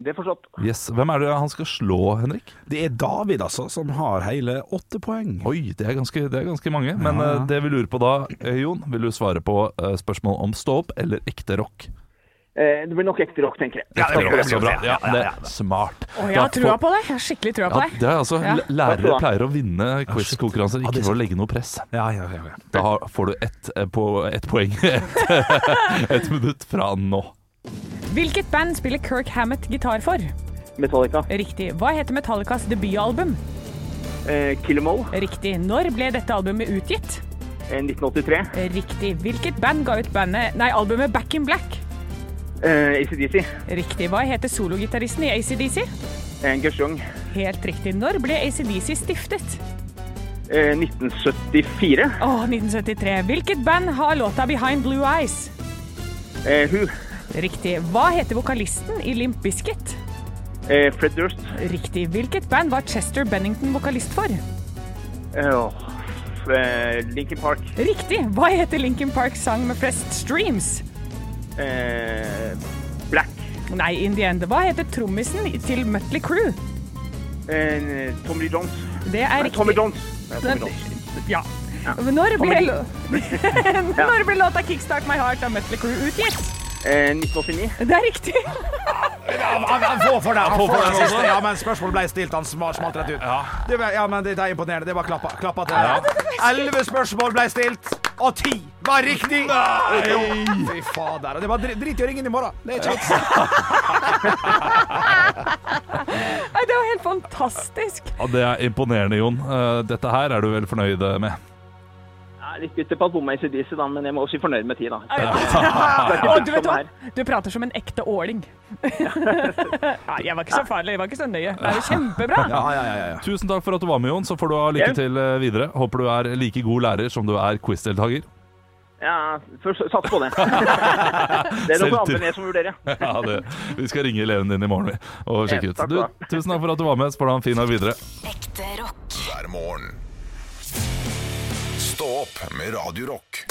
Speaker 8: Det er forstått.
Speaker 6: Yes. Hvem er det han skal slå, Henrik?
Speaker 2: Det er David, altså, som har hele åtte poeng.
Speaker 6: Oi, det er ganske, det er ganske mange. Men eh, det vi lurer på da, eh, Jon, vil du svare på eh, spørsmål om stå-opp eller ekte rock?
Speaker 8: Eh, det blir nok ekte rock, tenker jeg.
Speaker 2: Ja, det blir
Speaker 6: Rock
Speaker 2: det
Speaker 6: er så
Speaker 2: blir
Speaker 6: bra.
Speaker 2: det.
Speaker 6: Ja,
Speaker 2: Ja, ja,
Speaker 6: det
Speaker 2: ja.
Speaker 6: er smart.
Speaker 3: Å, jeg har
Speaker 6: Da
Speaker 3: trua
Speaker 6: får-
Speaker 3: på deg. Jeg har skikkelig trua på
Speaker 6: Ja,
Speaker 3: deg.
Speaker 6: det er altså,
Speaker 3: Ja.
Speaker 6: l- Lærere
Speaker 8: Takk skal
Speaker 6: pleier å vinne quiz-konkurranser, ikke for å legge noe press.
Speaker 2: Ja, ja, ja, ja.
Speaker 6: Da har- får du ett eh, på- ett poeng ett et minutt fra nå.
Speaker 9: Hvilket band spiller Kirk Hammett gitar for?
Speaker 8: Metallica.
Speaker 9: Riktig. Hva heter Metallicas debutalbum?
Speaker 8: Eh, Kill 'em all.
Speaker 9: Riktig. Når ble dette albumet utgitt?
Speaker 8: Eh, 1983.
Speaker 9: Riktig. Hvilket band ga ut bandet, nei, albumet Back in Black?
Speaker 8: Uh, ACDC.
Speaker 9: Riktig. Hva heter sologitaristen i ACDC?
Speaker 8: En Gershong.
Speaker 9: Helt riktig. Når ble ACDC stiftet?
Speaker 8: Eh, 1974.
Speaker 9: Å, 1973. Hvilket band har låta 'Behind Blue Eyes'?
Speaker 8: Eh, Who.
Speaker 9: Riktig. Hva heter vokalisten i Limp Bizkit?
Speaker 8: Eh, Fred Durst.
Speaker 9: Riktig. Hvilket band var Chester Bennington vokalist for?
Speaker 8: Eh, åh, eh, Linkin Park.
Speaker 9: Riktig. Hva heter Linkin Parks sang med flest streams?
Speaker 8: Eh, Black.
Speaker 9: Nei, in the end. Hva heter trommisen til Mutley Crew?
Speaker 8: Eh, Tommy Lee Jones.
Speaker 9: Det er
Speaker 8: Nei, Tommy
Speaker 9: riktig.
Speaker 8: Jones. Nei, Tommy Jones.
Speaker 9: Ja. Når ble,
Speaker 8: Tommy
Speaker 9: lo- Når ble låta 'Kickstart My Heart' av Mutley Crew utgitt?
Speaker 8: Eh, 1989.
Speaker 9: Det er riktig.
Speaker 2: Få for deg! han får for
Speaker 6: for
Speaker 2: deg
Speaker 6: deg
Speaker 2: siste.
Speaker 6: også.
Speaker 2: Ja, men spørsmålet ble stilt, han sma- smalt rett ut. Det var, ja, men det er imponerende. Det var klappa, klappa til. Elleve spørsmål ble stilt, og ti var riktig! Jo, Fy fader. og Det var dri- drit i å ringe inn i morgen. Det er ikke vits.
Speaker 9: Nei, Det var helt fantastisk.
Speaker 6: Ja, det er imponerende, Jon. Eh, Dette her er du vel fornøyd med?
Speaker 8: Ja, litt bitter på at bomma i ACDC, da, men jeg må også være fornøyd med ti, da.
Speaker 9: Og Ah, du vet hva? Du prater som en ekte åling. Nei, jeg var ikke så farlig. Jeg var ikke så nøye. Det er jo kjempebra.
Speaker 2: Ja, ja, ja, ja.
Speaker 6: Tusen takk for at du var med, Jon. Så får du ha lykke
Speaker 8: Ja.
Speaker 6: til eh, videre. Håper du er like god lærer som du er quiz-deltaker.
Speaker 8: Ja, først, sats på det. det er noen
Speaker 6: Selvtillit.
Speaker 8: andre enn jeg som vurderer.
Speaker 6: Ja, det. Vi skal ringe eleven din i morgen vi, og sjekke
Speaker 8: Ja,
Speaker 6: ut.
Speaker 8: takk
Speaker 6: Du,
Speaker 8: skal du ha.
Speaker 6: tusen takk for at du var med. Spør deg om fin dag videre.
Speaker 10: Ekte rock.
Speaker 1: hver morgen. Stå opp med Radio Rock.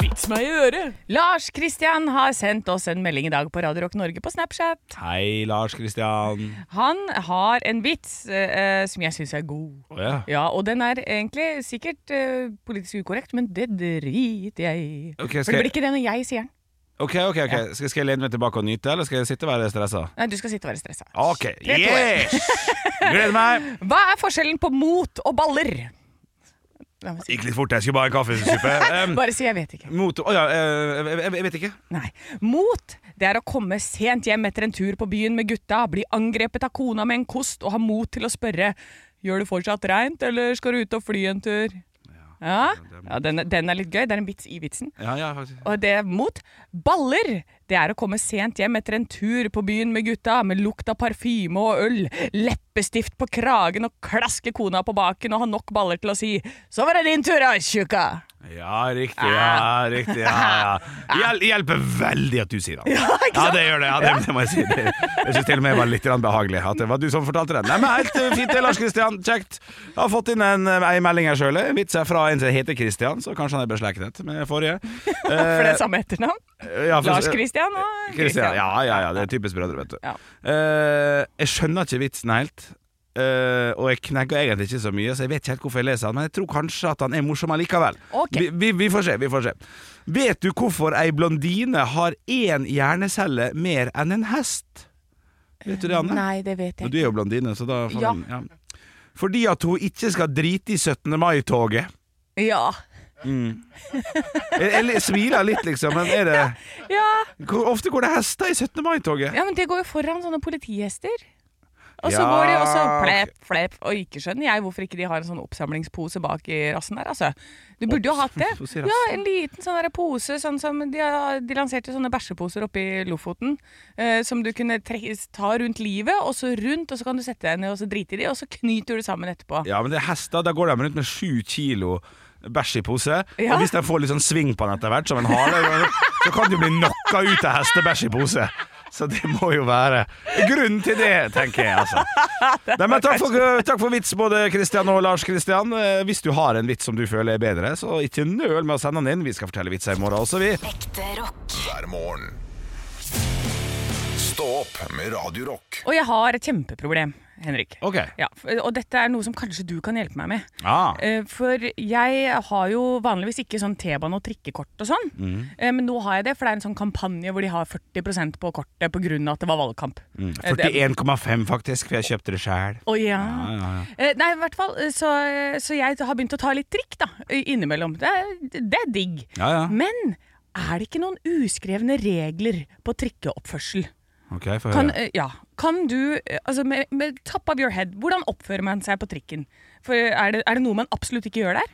Speaker 9: Vits meg i øret.
Speaker 3: Lars Kristian har sendt oss en melding i dag på Radio Rock Norge på Snapchat.
Speaker 2: Hei, Lars Kristian.
Speaker 3: Han har en vits eh, som jeg syns er god. Ja, Og den er egentlig sikkert eh, politisk ukorrekt, men det driter jeg i.
Speaker 2: Ok, skal
Speaker 3: For det
Speaker 2: jeg-
Speaker 3: blir ikke det når jeg sier den.
Speaker 2: Ok, ok, ok. Skal, skal jeg lene meg tilbake og nyte, eller skal jeg sitte og være stressa?
Speaker 3: Nei, du skal sitte og være stressa.
Speaker 2: Ok,
Speaker 3: to,
Speaker 2: yes! Gleder meg!
Speaker 3: Hva er forskjellen på mot og baller? La meg si.
Speaker 2: Gikk litt fort, jeg skulle bare ha kaffesuppe. Um,
Speaker 3: Bare si 'jeg vet ikke'.
Speaker 2: mot... Å ja, eh, jeg, jeg, jeg vet ikke.
Speaker 3: Nei. Mot, det er å komme sent hjem etter en tur på byen med gutta, bli angrepet av kona med en kost og ha mot til å spørre 'Gjør det fortsatt reint, eller skal du ut og fly en tur?' Ja, ja den, er- den er litt gøy. Det er en vits i vitsen.
Speaker 2: Ja, ja, faktisk.
Speaker 3: Og det er mot baller. Det er å komme sent hjem etter en tur på byen med gutta, med lukt av parfyme og øl, leppestift på kragen og klaske kona på baken og ha nok baller til å si 'Så var det din tur, da, tjukka'.
Speaker 2: Ja, riktig. Ja, riktig ja, ja. Hjel hjelper veldig at du sier det. Ah. Ja, det gjør det. Ja, det, det må jeg si. Det, jeg syns til og med det var litt grann behagelig at det var du som fortalte den. Nei, men Helt eh, fint det, Lars Kristian. Kjekt. Jeg har fått inn en, eh, ei melding her sjøl. Vits er fra en som heter Kristian, så kanskje han er beslektet med forrige.
Speaker 3: For det er samme etternavn.
Speaker 2: ja, for-
Speaker 3: Lars Christian og
Speaker 2: Kristian.
Speaker 3: Christian.
Speaker 2: Ja, ja, ja. Det er typisk brødre, vet du.
Speaker 3: Ja.
Speaker 2: Eh, jeg skjønner ikke vitsen helt. eh, og jeg knegger egentlig ikke så mye, så jeg vet ikke helt hvorfor jeg leser han. Men jeg tror kanskje at han er morsom allikevel.
Speaker 3: Ok.
Speaker 2: Vi, vi, vi får se, vi får se. Vet du hvorfor ei blondine har én hjernecelle mer enn en hest? Vet du det, Anne?
Speaker 3: Nei, det vet
Speaker 2: Og
Speaker 3: jeg
Speaker 2: du
Speaker 3: ikke.
Speaker 2: er jo blondine, så da
Speaker 3: Ja.
Speaker 2: ja. Fordi at hun ikke skal drite i 17. mai-toget.
Speaker 3: Ja.
Speaker 2: Jeg, jeg smiler litt, liksom, men er det
Speaker 3: Ja.
Speaker 2: Hvor ofte går det hester i 17. mai-toget?
Speaker 3: ja, men det går jo foran sånne politihester. Og så
Speaker 2: Ja,
Speaker 3: går de også
Speaker 2: ok.
Speaker 3: flepp, flepp. Og ikke skjønner jeg hvorfor ikke de har en sånn oppsamlingspose bak i rassen der, altså. Du burde jo hatt det.
Speaker 2: Oppsamlingspose i rassen.
Speaker 3: Ja, en liten sånn der pose, sånn som de, har- de lanserte sånne bæsjeposer oppe i Lofoten. Eh, som du kunne tre ta rundt livet, og så rundt, og så kan du sette deg ned og så drite i de, og så knyter du det sammen etterpå.
Speaker 2: Ja, men det er hester, da går de rundt med sju kilo bæsj i pose.
Speaker 3: Ja.
Speaker 2: Og hvis de får litt sånn sving på den etter hvert, som en hare, så kan de bli knocka ut av hestebæsj i pose. Så det må jo være grunnen til det, tenker jeg, altså. Nei, men takk for, takk for vits, både Kristian og Lars Kristian. Hvis du har en vits som du føler er bedre, så ikke nøl med å sende den inn. Vi skal fortelle vitser i morgen også, vi.
Speaker 10: Ekte rock.
Speaker 1: hver morgen. Stå opp med Radio Rock.
Speaker 3: Og jeg har et kjempeproblem, Henrik.
Speaker 2: Ok.
Speaker 3: Ja, f- og dette er noe som kanskje du kan hjelpe meg med.
Speaker 2: Ah.
Speaker 3: Eh, For jeg har jo vanligvis ikke sånn T-bane og trikkekort og sånn. Eh, Men nå har jeg det, for det er en sånn kampanje hvor de har 40 på kortet pga. at det var valgkamp. Eh, det-
Speaker 2: 41,5 faktisk, for jeg kjøpte det sjæl.
Speaker 3: Å ja. Eh, Nei, i hvert fall, eh, så, så jeg har begynt å ta litt trikk, da. i- Innimellom. Det er, det er digg.
Speaker 2: Ja, ja.
Speaker 3: Men er det ikke noen uskrevne regler på trikkeoppførsel?
Speaker 2: Ok, få
Speaker 3: Kan,
Speaker 2: høre.
Speaker 3: eh, ja. kan du, eh, altså med, med top of your head, hvordan oppfører man seg på trikken? For eh, er det, er det noe man absolutt ikke gjør der?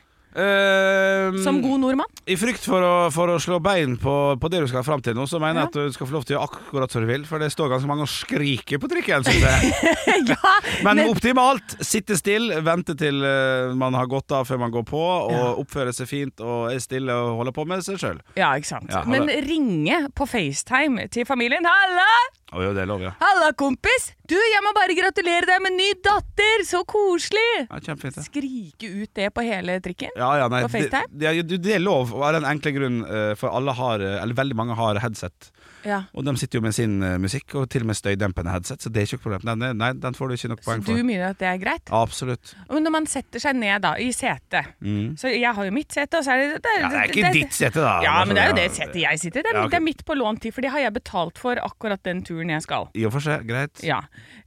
Speaker 2: Eh,
Speaker 3: Som god nordmann?
Speaker 2: I frykt for å, for å slå bein på, på det du skal fram til nå, så mener jeg at du skal få lov til å gjøre akkurat som du vil, for det står ganske mange og skriker på trikken. synes jeg.
Speaker 3: ja,
Speaker 2: Men
Speaker 3: men-
Speaker 2: optimalt! Sitte stille, vente til eh, man har gått av før man går på, og oppføre seg fint og er stille og holde på med seg sjøl.
Speaker 3: Ja, ikke sant.
Speaker 2: Ja,
Speaker 3: Men
Speaker 2: hallo.
Speaker 3: ringe på FaceTime til familien. Halla!
Speaker 2: Å jo, det lover jeg.
Speaker 3: Halla, kompis! Du, jeg må bare gratulere deg med ny datter! Så koselig!
Speaker 2: Ja, kjempefint. det.
Speaker 3: Skrike ut det på hele trikken.
Speaker 2: Ja, ja, nei,
Speaker 3: På FaceTime?
Speaker 2: Det, det, det- det er lov, av den enkle grunnen, eh, for alle har, eh, eller veldig mange har headset.
Speaker 3: Ja.
Speaker 2: Og de sitter jo med sin eh, musikk, og til og med støydempende headset, så det er ikke noe problem. Nei, nei, nei den får du ikke nok
Speaker 3: Så
Speaker 2: poeng
Speaker 3: du
Speaker 2: for.
Speaker 3: mener at det er greit?
Speaker 2: Absolutt.
Speaker 3: Men når man setter seg ned da, i setet Så jeg har jo mitt sete, og så er det det,
Speaker 2: Mm. Ja, det er ikke ditt sete, da.
Speaker 3: Ja, men det er jo det
Speaker 2: Ja.
Speaker 3: setet jeg sitter i. Det, er-
Speaker 2: Ja, ok.
Speaker 3: det er mitt på lånt tid, for det har jeg betalt for akkurat den turen jeg skal.
Speaker 2: I og for seg, greit.
Speaker 3: Ja.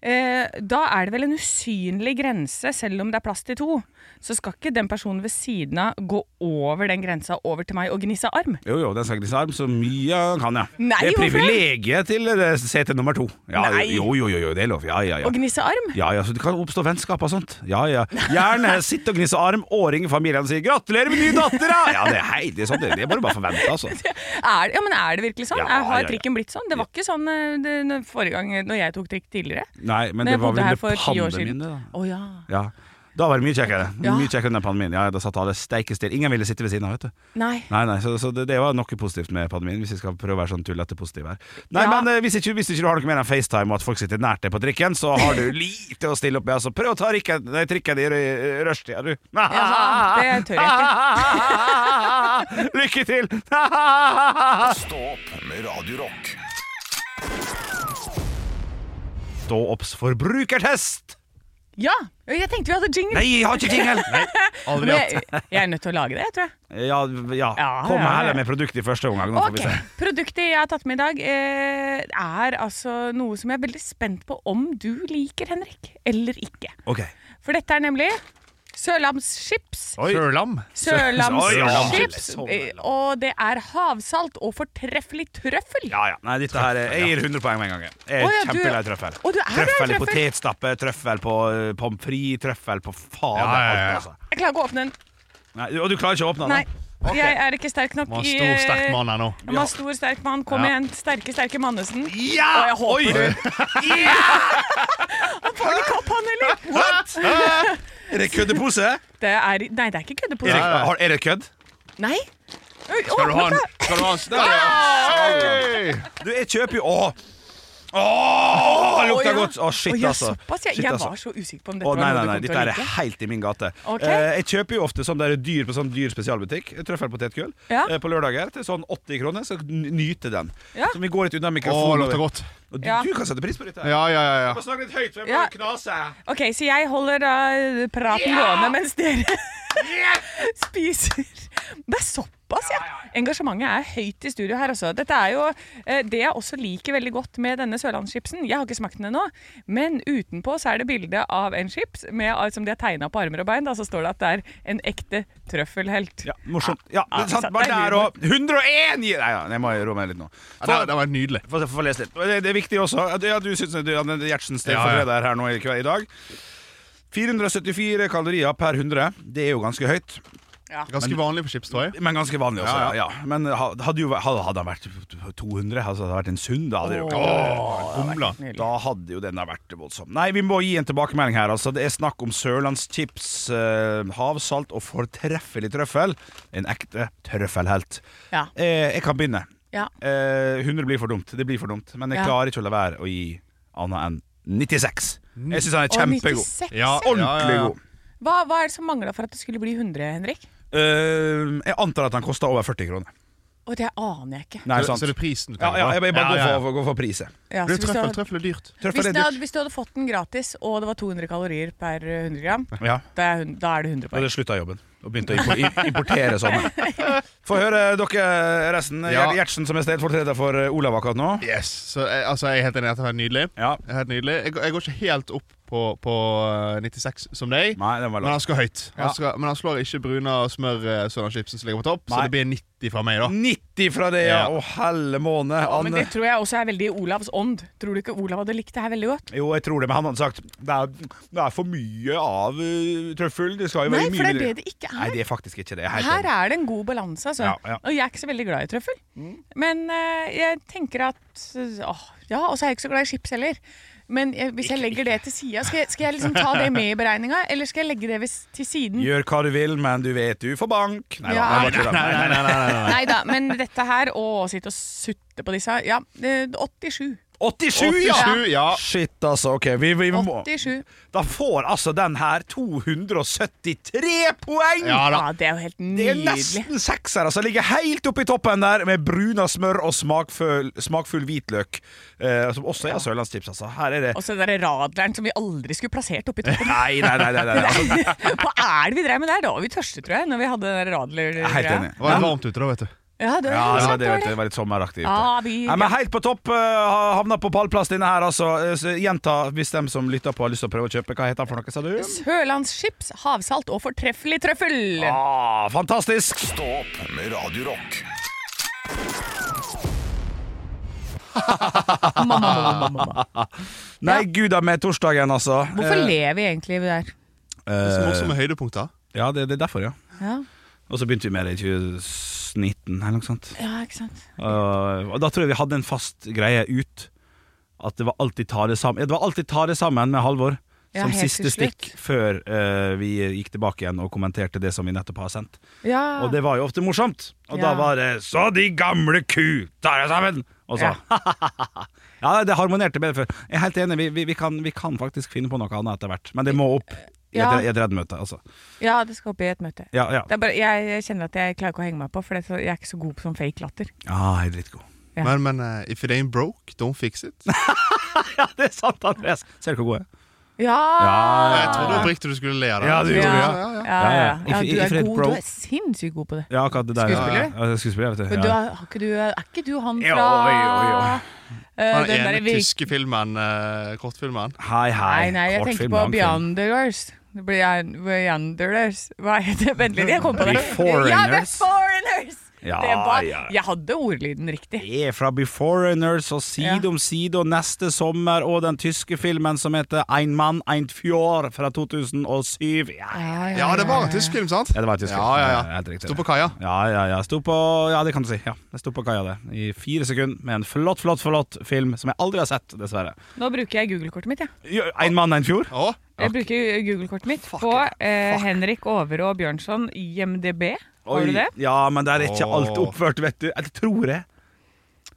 Speaker 3: Eh, da er det vel en usynlig grense, selv om det er plass til to. Så skal ikke den personen ved siden av gå over den grensa over til meg og gnisse arm.
Speaker 2: Jo, jo, den skal gnisse arm så mye han kan, ja.
Speaker 3: Nei,
Speaker 2: det er
Speaker 3: hvorfor
Speaker 2: privilegiet til eh, sete nummer to. Ja,
Speaker 3: Nei.
Speaker 2: Jo, jo, jo, jo, det er lov. Ja, ja, ja.
Speaker 3: Å gnisse arm?
Speaker 2: Ja, ja, så Det kan oppstå vennskap og sånt. Ja, ja. Gjerne sitte og gnisse arm og ringe familien og si 'gratulerer med ny datter', da! Ja, det er hei, det er sånn, det, det må du bare forvente, altså.
Speaker 3: Er, det- ja, men er det virkelig sånn?
Speaker 2: Ja,
Speaker 3: Er- har
Speaker 2: ja, ja.
Speaker 3: trikken blitt sånn? Det var ikke sånn eh, det, når- forrige gang eh, når jeg tok trikk tidligere.
Speaker 2: Nei, men
Speaker 3: Når
Speaker 2: det
Speaker 3: jeg
Speaker 2: var
Speaker 3: bodde
Speaker 2: vel
Speaker 3: her
Speaker 2: under
Speaker 3: for ti år siden.
Speaker 2: pandemien, det, da.
Speaker 3: Å ja.
Speaker 2: Ja. Da var det mye kjekkere.
Speaker 3: Ja.
Speaker 2: Mye kjekkere under pandemien. Ja, da satt alle steikestill. Ingen ville sitte ved siden av, vet du.
Speaker 3: Nei.
Speaker 2: Nei, nei, så, så det, det var noe positivt med pandemien, hvis vi skal prøve å være sånn tullete positiv her. Nei,
Speaker 3: Ja.
Speaker 2: men eh, hvis ikke, hvis ikke du har noe mer enn FaceTime og at folk sitter nært deg på trikken, så har du lite å stille opp med. Altså, prøv å ta rikken, nei, trikken i rø- rushtida, du.
Speaker 3: Jaha, det tør jeg
Speaker 2: ikke. Lykke til!
Speaker 1: Stå opp med Radio Rock.
Speaker 2: Stå opps forbrukertest!
Speaker 3: Ja! Jeg tenkte vi hadde jingle.
Speaker 2: Nei, jeg har ikke jingle!
Speaker 4: Aldri hatt.
Speaker 3: jeg, jeg er nødt til å lage det, jeg tror jeg.
Speaker 2: Ja, ja.
Speaker 3: Ja,
Speaker 2: Kom
Speaker 3: ja, ja.
Speaker 2: heller med produktet i første omgang, nå får
Speaker 3: Ok,
Speaker 2: vi se.
Speaker 3: Produktet jeg har tatt med i dag, eh, er altså noe som jeg er veldig spent på om du liker, Henrik, eller ikke.
Speaker 2: Ok.
Speaker 3: For dette er nemlig Sørlandschips.
Speaker 2: Oi.
Speaker 4: Sørlam.
Speaker 3: Sørlandschips.
Speaker 2: Sørlandschips.
Speaker 3: eh, Og det er havsalt og fortreffelig trøffel.
Speaker 2: Ja, ja. Nei, dette her, er- jeg gir 100 poeng med en gang. jeg. Jeg er
Speaker 3: Å, ja, du-
Speaker 2: kjempelei trøffel.
Speaker 3: Å, du er glad i
Speaker 2: trøffel i
Speaker 3: trøffel.
Speaker 2: potetstappe, trøffel på eh, pommes frites, trøffel på faen
Speaker 4: Ja, ja, ja.
Speaker 2: alt, altså.
Speaker 3: Jeg klarer ikke å åpne den.
Speaker 2: Nei, og du klarer ikke å åpne
Speaker 3: Nei.
Speaker 2: den?
Speaker 3: Jeg er ikke sterk nok
Speaker 4: Må ha
Speaker 3: i
Speaker 4: stor, sterk
Speaker 3: eh,
Speaker 4: mann her nå.
Speaker 3: Jeg må ha stor, sterk mann. Kom
Speaker 4: Ja.
Speaker 3: igjen. Sterke, sterke Mannesen.
Speaker 2: Ja!
Speaker 3: Og jeg håper
Speaker 2: Oi!
Speaker 3: Får han ikke opp, han heller?
Speaker 2: What? Hæ? Er det køddepose?
Speaker 3: Det er, nei, det er ikke køddepose.
Speaker 2: Er det, har- er det kødd?
Speaker 3: Nei. Oi,
Speaker 4: Skal du ha
Speaker 3: åpne
Speaker 4: en?
Speaker 3: den.
Speaker 4: Skal du ha en? Der,
Speaker 3: Ah!
Speaker 4: ja.
Speaker 2: Du, jeg kjøper jo Åh! Åh,
Speaker 3: Å,
Speaker 2: lukter
Speaker 3: ja.
Speaker 2: godt! Å, shit,
Speaker 3: Å, ja,
Speaker 2: altså.
Speaker 3: Såpass, ja.
Speaker 2: Shit,
Speaker 3: jeg
Speaker 2: altså.
Speaker 3: var så usikker på om dette
Speaker 2: Å nei,
Speaker 3: var
Speaker 2: nei,
Speaker 3: noe
Speaker 2: nei,
Speaker 3: du
Speaker 2: dette
Speaker 3: kom til
Speaker 2: er
Speaker 3: å like.
Speaker 2: helt i min gate.
Speaker 3: Ok.
Speaker 2: Eh, jeg kjøper jo ofte sånn der dyr på sånn dyr spesialbutikk. Trøffelpotetgull
Speaker 3: Ja.
Speaker 2: eh, på lørdager til sånn 80 kroner. Så n- nyte den.
Speaker 3: Ja.
Speaker 2: Så vi går litt unna
Speaker 4: Å,
Speaker 2: mikrofonen.
Speaker 4: lukter godt.
Speaker 2: og du,
Speaker 3: Ja.
Speaker 2: du kan sette pris på dette. her.
Speaker 4: Ja, ja, ja.
Speaker 2: Bare
Speaker 4: ja.
Speaker 2: Snakk litt høyt, for jeg må
Speaker 3: Ja.
Speaker 2: knase.
Speaker 3: Ok, så jeg holder da eh, praten gående mens dere spiser. Det er såpass, ja. Engasjementet er høyt i studio her, altså. Dette er jo eh, det jeg også liker veldig godt med denne sørlandschipsen. Jeg har ikke smakt den ennå, men utenpå så er det bilde av en chips med, eh, som de har tegna på armer og bein. Da så står det at det er en ekte trøffelhelt.
Speaker 2: Ja, morsomt. Ja, men sant,
Speaker 3: sant,
Speaker 2: bare
Speaker 3: det er
Speaker 2: der
Speaker 3: humor.
Speaker 2: og 101 gir Nei, ja, jeg må roe meg litt nå.
Speaker 4: ja det, det var nydelig.
Speaker 2: Få få lese litt. Det, det er viktig også. at- Ja, du syns du Anne Gjertsen
Speaker 4: Ja,
Speaker 2: Stefan
Speaker 4: ja.
Speaker 2: Røder her nå i, kveld- i dag. 474 kalorier per 100. Det er jo ganske høyt,
Speaker 4: Ganske vanlig på chips, tror jeg.
Speaker 2: men ganske vanlig også.
Speaker 4: Ja,
Speaker 2: Ja, ja. Men ha- hadde, jo, væ- hadde hadde han vært 200, altså hadde det vært en sund, da hadde det jo
Speaker 4: Humla.
Speaker 2: Da hadde jo denne vært voldsom. Nei, vi må gi en tilbakemelding her. Altså, det er snakk om sørlandschips, eh, havsalt og fortreffelig trøffel. En ekte trøffelhelt.
Speaker 3: Ja.
Speaker 2: Eh, jeg kan begynne.
Speaker 3: Ja.
Speaker 2: Eh, 100 blir for dumt. Det blir for dumt. Men jeg
Speaker 3: Ja.
Speaker 2: klarer ikke å la være å gi annet enn 96. Jeg syns han er
Speaker 3: Og
Speaker 2: kjempegod.
Speaker 3: 96.
Speaker 4: Ja, ja,
Speaker 2: Ordentlig
Speaker 4: ja.
Speaker 2: god.
Speaker 3: Hva, hva er det som mangla for at det skulle bli 100, Henrik?
Speaker 2: Eh, jeg antar at han kosta over 40 kroner.
Speaker 3: Og det aner jeg ikke.
Speaker 2: Nei,
Speaker 4: Så,
Speaker 2: sant.
Speaker 4: så det er prisen du
Speaker 2: Ja,
Speaker 4: tenker
Speaker 2: ja, jeg bare
Speaker 4: Ja, ja, ja.
Speaker 2: Går, for, går for priset.
Speaker 3: Ja,
Speaker 4: Blir
Speaker 3: så Altså, hvis du
Speaker 4: trøffel,
Speaker 3: hadde-
Speaker 4: trøffel er dyrt.
Speaker 2: Trøffel
Speaker 3: Hvis,
Speaker 2: er
Speaker 3: det
Speaker 2: dyrt.
Speaker 3: hadde, hvis du hadde fått den gratis, og det var 200 kalorier per eh, 100 gram,
Speaker 2: Ja.
Speaker 3: da er, hun- da er det 100
Speaker 2: Og
Speaker 3: poeng.
Speaker 2: det slutta jobben og begynte å impor- i- importere sånne. Få høre dere resten.
Speaker 4: Ja.
Speaker 2: Gjertsen som er stedfortreder for eh, Olav akkurat nå.
Speaker 4: Yes, så jeg, altså, jeg er helt enig. Dette var nydelig.
Speaker 2: Ja.
Speaker 4: Helt nydelig. Jeg, går- jeg går ikke helt opp på, på eh, 96 som deg.
Speaker 2: Nei, den var
Speaker 4: Men
Speaker 2: lav.
Speaker 4: han skal høyt.
Speaker 2: Ja.
Speaker 4: Han skal, men han slår ikke Bruna og smør eh, Sørlands chipsen som ligger på topp,
Speaker 2: Nei.
Speaker 4: så det blir 90 fra meg, da.
Speaker 2: 90 fra det, ja!
Speaker 4: Ja.
Speaker 2: Å, helle måne.
Speaker 3: Men det
Speaker 2: Anne.
Speaker 3: tror jeg også er veldig i Olavs ånd. Tror du ikke Olav hadde likt det her veldig godt?
Speaker 2: Jo, jeg tror det, men han hadde sagt det er, det er for mye av eh, trøffel. Det skal jo
Speaker 3: Nei,
Speaker 2: være mye
Speaker 3: for det er det
Speaker 2: mindre.
Speaker 3: det ikke
Speaker 2: Nei,
Speaker 3: er.
Speaker 2: det er faktisk ikke det. Jeg er helt
Speaker 3: Her
Speaker 2: enig.
Speaker 3: er det en god balanse, altså.
Speaker 2: Ja, Mm. ja.
Speaker 3: Og jeg er ikke så veldig glad i trøffel. Men eh, jeg tenker at åh, Ja, og så er jeg ikke så glad i chips heller. Men jeg, hvis jeg legger det til sida, skal, jeg- skal jeg liksom ta det med i beregninga? Eller skal jeg legge det ved- til siden?
Speaker 2: Gjør hva du vil, men du vet du får bank. Nei, da,
Speaker 3: Ja.
Speaker 2: nei, nei, nei, nei, nei, nei, nei.
Speaker 3: Nei da, men dette her Å, sitte og sutte på disse Ja, eh, 87.
Speaker 2: 87, ja!
Speaker 4: 87, ja.
Speaker 2: Shit, altså. Ok, vi, vi må
Speaker 3: 87.
Speaker 2: Da får altså den her 273 poeng!
Speaker 4: Ja da.
Speaker 3: Ja, det er jo helt
Speaker 2: Det er
Speaker 3: nydelig.
Speaker 2: nesten sekser. Altså ligger helt oppe i toppen der med bruna smør og smakfull, smakfull hvitløk. Eh, som også er sørlandschips, altså. Her er det
Speaker 3: Og så den der radleren som vi aldri skulle plassert oppi toppen.
Speaker 2: Nei, nei, nei. nei, nei, nei. Altså,
Speaker 3: Hva er det vi drev med der? Da var vi tørste, tror jeg. Når vi hadde den der radler...
Speaker 2: jeg er helt enig.
Speaker 4: Det var litt varmt ute, da, vet du.
Speaker 3: Ja, det var,
Speaker 2: Ja, det var,
Speaker 3: sant,
Speaker 2: det, vet du, det var litt sommeraktig. ute.
Speaker 3: Ja, vi-
Speaker 2: Nei, men helt på topp. eh, ha- havna på pallplass denne her, altså. Eh, så Gjenta hvis dem som lytter på har lyst til å prøve å kjøpe. Hva heter den for noe, sa du?
Speaker 3: Sørlandschips, havsalt og fortreffelig trøffel.
Speaker 2: Ah, fantastisk!
Speaker 1: Stå opp med Radio Rock.
Speaker 3: Mamma, mamma, mamma, mamma.
Speaker 2: Nei, gud a meg, torsdagen, altså.
Speaker 3: Hvorfor
Speaker 2: Eh,
Speaker 3: lever vi egentlig der?
Speaker 4: Det er så morsomme høydepunkter.
Speaker 2: Ja, det, det er derfor, ja.
Speaker 3: Ja,
Speaker 2: Og så begynte vi med det i 2019, eller noe sånt.
Speaker 3: ja ikke sant?
Speaker 2: Og- og da tror jeg vi hadde en fast greie ut. At det var alltid ta det sammen, ja, det var alltid ta det sammen med Halvor.
Speaker 3: Ja,
Speaker 2: som
Speaker 3: helt
Speaker 2: siste
Speaker 3: til slutt.
Speaker 2: stikk før eh, vi gikk tilbake igjen og kommenterte det som vi nettopp har sendt.
Speaker 3: Ja.
Speaker 2: Og det var jo ofte morsomt. Og da
Speaker 3: Ja.
Speaker 2: var det 'Så de gamle ku, tar det sammen!' Og så
Speaker 3: Ja.
Speaker 2: ja. det harmonerte bedre før. Jeg er helt enig, vi, vi, vi, kan, vi kan faktisk finne på noe annet etter hvert. Men det må opp i et,
Speaker 3: Ja.
Speaker 2: i et reddmøte, altså.
Speaker 3: ja, det skal opp i et møte.
Speaker 2: Ja, ja.
Speaker 3: Det er bare, jeg, jeg kjenner at jeg klarer ikke å henge meg på, for det, er så- jeg er ikke så god på sånn fake latter.
Speaker 2: Ah, jeg er dritgod.
Speaker 3: Ja.
Speaker 4: Men, men eh, if it ain't broke, don't fix it.
Speaker 2: Ja, det er sant, Andreas. Ser du hvor god jeg er?
Speaker 3: Ja!
Speaker 4: Jeg trodde oppriktig du skulle le av det.
Speaker 2: Ja, du gjorde det, ja.
Speaker 4: Ja,
Speaker 3: Ja,
Speaker 4: ja, ja.
Speaker 2: Ja,
Speaker 3: ja,
Speaker 2: ja. If-
Speaker 3: ja. du
Speaker 2: if
Speaker 3: er
Speaker 2: it
Speaker 3: god.
Speaker 2: broke-
Speaker 3: Du er sinnssykt god på det.
Speaker 2: Ja, akkurat det der.
Speaker 3: Skuespiller?
Speaker 2: Ja, ja, skuespiller, vet du.
Speaker 3: Men du
Speaker 2: ja.
Speaker 3: er, har ikke du, er ikke du han
Speaker 2: Jo,
Speaker 3: fra
Speaker 2: jo, jo.
Speaker 3: eh,
Speaker 4: Han
Speaker 3: den
Speaker 4: ene
Speaker 3: der vi-
Speaker 4: tyske filmen, eh, kortfilmen.
Speaker 2: Hei, hei.
Speaker 3: Nei, nei, jeg tenker
Speaker 2: Kortfilm,
Speaker 3: på
Speaker 2: langfilm.
Speaker 3: Beyonders. Beyond- Beyonders Hva heter det? Vent litt, jeg kom på det.
Speaker 2: The Foreigners.
Speaker 3: Ja, The Foreigners!
Speaker 2: Ja,
Speaker 3: det var,
Speaker 2: ja, ja.
Speaker 3: Jeg hadde ordlyden riktig.
Speaker 2: Det er fra Beforeigners og Side
Speaker 3: Ja.
Speaker 2: om side og Neste sommer og den tyske filmen som heter Ein mann, ein fjord fra 2007. Ja,
Speaker 4: Ja, det var en tysk film, sant?
Speaker 2: Ja, det var en tysk film.
Speaker 4: Ja, ja,
Speaker 2: Ja,
Speaker 4: ja.
Speaker 2: helt riktig.
Speaker 4: Sto på kaia.
Speaker 2: ja, ja. ja. Sto på Ja, det kan du si. Ja, jeg sto på kaia, det. I fire sekunder med en flott, flott, flott film som jeg aldri har sett, dessverre.
Speaker 3: Nå bruker jeg Google-kortet mitt, jeg.
Speaker 2: Jo, Ein mann, ein fjord.
Speaker 4: Å,
Speaker 3: Jeg bruker Google-kortet mitt på eh, Henrik Overå Bjørnson IMDb. Har du det?
Speaker 2: Ja, men der er ikke alt
Speaker 4: Åh.
Speaker 2: oppført, vet du. Jeg tror det.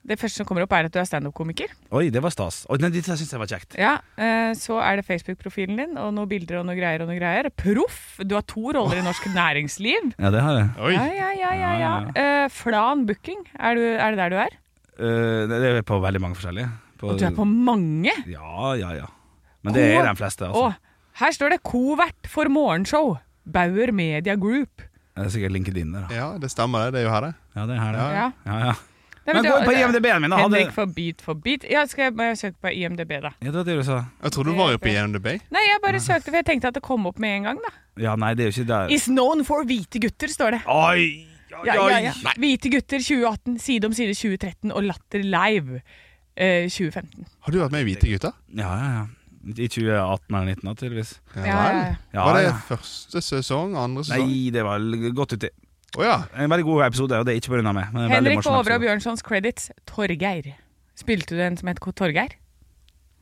Speaker 3: Det første som kommer opp, er at du er standup-komiker.
Speaker 2: Oi, det var stas. Oi, nei, Dette syns jeg var kjekt.
Speaker 3: Ja, eh, så er det Facebook-profilen din og noen bilder og noe greier og noe greier. Proff! Du har to roller i norsk næringsliv.
Speaker 2: Ja, det har jeg.
Speaker 4: Oi.
Speaker 3: Ja, ja, ja, ja, ja.
Speaker 2: Ja,
Speaker 3: Eh, Flan Booking, er, du, er det der du er?
Speaker 2: Eh, det er på veldig mange forskjellige. På-
Speaker 3: Du er på mange!
Speaker 2: Ja, ja, ja. Men det er de fleste, altså.
Speaker 3: Å, her står det 'Covert for morgenshow'. Bauer Media Group.
Speaker 2: Det er sikkert LinkedIn der, da.
Speaker 4: Ja, det stemmer det. Det er jo her, det.
Speaker 2: Ja, det er her, det.
Speaker 3: Ja.
Speaker 2: Ja, ja.
Speaker 3: Nei,
Speaker 2: Men
Speaker 3: det-
Speaker 2: gå inn på
Speaker 3: det-
Speaker 2: IMDb-en min, da.
Speaker 3: Henrik
Speaker 2: Hadde...
Speaker 3: for Beat for Beat. Ja, skal jeg bare søke på IMDb, da?
Speaker 2: Ja, det var det du sa.
Speaker 4: Jeg trodde du var oppe i NDB.
Speaker 3: Nei, jeg bare søkte, for jeg tenkte at det kom opp med en gang, da.
Speaker 2: Ja, nei, det er jo ikke der.
Speaker 3: Is known for hvite gutter, står det.
Speaker 2: Oi! Oi,
Speaker 3: Ja, ja, ja.
Speaker 2: oi.
Speaker 3: Hvite gutter 2018, Side om side 2013 og Latter live eh, 2015.
Speaker 4: Har du vært med i Hvite gutter?
Speaker 2: Ja, ja, ja. I 2018 eller 19 da, tydeligvis.
Speaker 4: Ja,
Speaker 3: ja,
Speaker 4: vel.
Speaker 2: Ja,
Speaker 4: Var det
Speaker 2: ja.
Speaker 4: første sesong? Andre sesong?
Speaker 2: Nei, det var l- godt uti.
Speaker 4: Å ja.
Speaker 2: En veldig god episode, og det er ikke pga. meg. Men en veldig altså.
Speaker 3: Henrik
Speaker 2: morsom
Speaker 3: Overå
Speaker 2: episode.
Speaker 3: Bjørnsons credits Torgeir. Spilte du en som het Torgeir?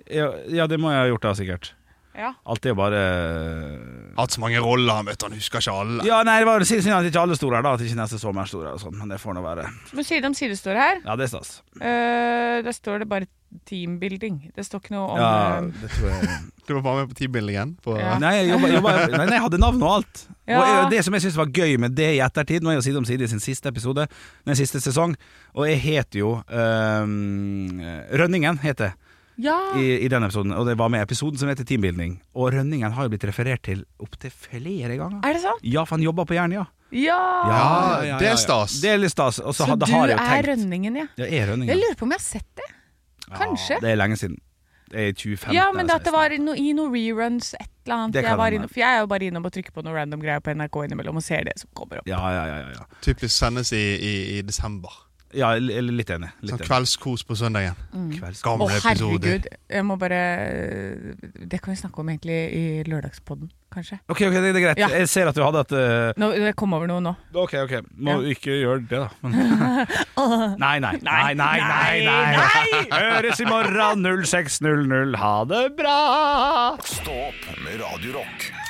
Speaker 2: Ja, ja, det må jeg ha gjort, da, sikkert.
Speaker 3: Ja.
Speaker 2: Alt er jo bare eh,
Speaker 4: Hatt så mange roller, han vet han husker ikke alle.
Speaker 2: Ja, nei, det var synd synd at ikke alle store er da. At ikke neste sommer er store og sånn, men det får nå være.
Speaker 3: Men side om side står det her.
Speaker 2: Ja, det er stas.
Speaker 3: Eh, der står det bare teambuilding. Det står ikke noe om
Speaker 2: Ja,
Speaker 3: eh,
Speaker 2: det tror jeg
Speaker 4: Du var bare med på teambuildingen. På,
Speaker 3: Ja.
Speaker 2: Nei, jeg, jobba, jobba, nei, nei, jeg hadde navn og alt.
Speaker 3: Ja.
Speaker 2: Og jeg- Det som jeg syns var gøy med det i ettertid, nå er jo Side om side i sin siste episode, den siste sesong, og jeg heter jo øhm, Rønningen, heter jeg,
Speaker 3: Ja!
Speaker 2: i, i den episoden. Og det var med i episoden som heter Teambuilding. Og Rønningen har jo blitt referert til opptil flere ganger.
Speaker 3: Er det sant?
Speaker 2: Ja, for han jobba på Jernia.
Speaker 3: Ja!
Speaker 4: Ja, det er stas.
Speaker 2: Det er litt stas. Og så,
Speaker 3: Så
Speaker 2: hadde,
Speaker 3: du
Speaker 2: har jeg jo
Speaker 3: er
Speaker 2: tenkt
Speaker 3: rønningen, ja.
Speaker 2: Ja, jeg er
Speaker 3: Jeg
Speaker 2: Rønningen.
Speaker 3: lurer på om jeg har sett det. Kanskje.
Speaker 2: Ja, det er lenge siden. er i altså. 2015.
Speaker 3: Ja, men
Speaker 2: eller
Speaker 3: at det var i no, i noe reruns, et eller annet.
Speaker 2: Det kan
Speaker 3: jeg, var
Speaker 2: hende.
Speaker 3: innom, for jeg er jo bare innom og trykker på noe random greier på NRK innimellom og ser det som kommer
Speaker 2: 16.
Speaker 3: opp.
Speaker 2: Ja, ja, ja. ja, ja.
Speaker 4: Typisk sendes i, i, i desember.
Speaker 2: ja l- l- litt enig. Litt
Speaker 4: Sånn
Speaker 2: enig.
Speaker 4: kveldskos på søndagen.
Speaker 2: Kvelds-
Speaker 3: Å,
Speaker 4: Gamle episoder.
Speaker 3: herregud. Jeg må bare Det kan vi snakke om egentlig i lørdagspodden, kanskje.
Speaker 2: Ok, ok, det det er greit.
Speaker 3: Ja.
Speaker 2: Jeg ser at du hadde et eh,
Speaker 3: Nå, jeg kom over noe nå.
Speaker 2: Ok, ok. Må ikke gjøre det, da. Men... Nei, nei, nei, nei, nei, nei. Høres i morgen 06.00. Ha det bra!
Speaker 1: Stå opp med Radio Rock.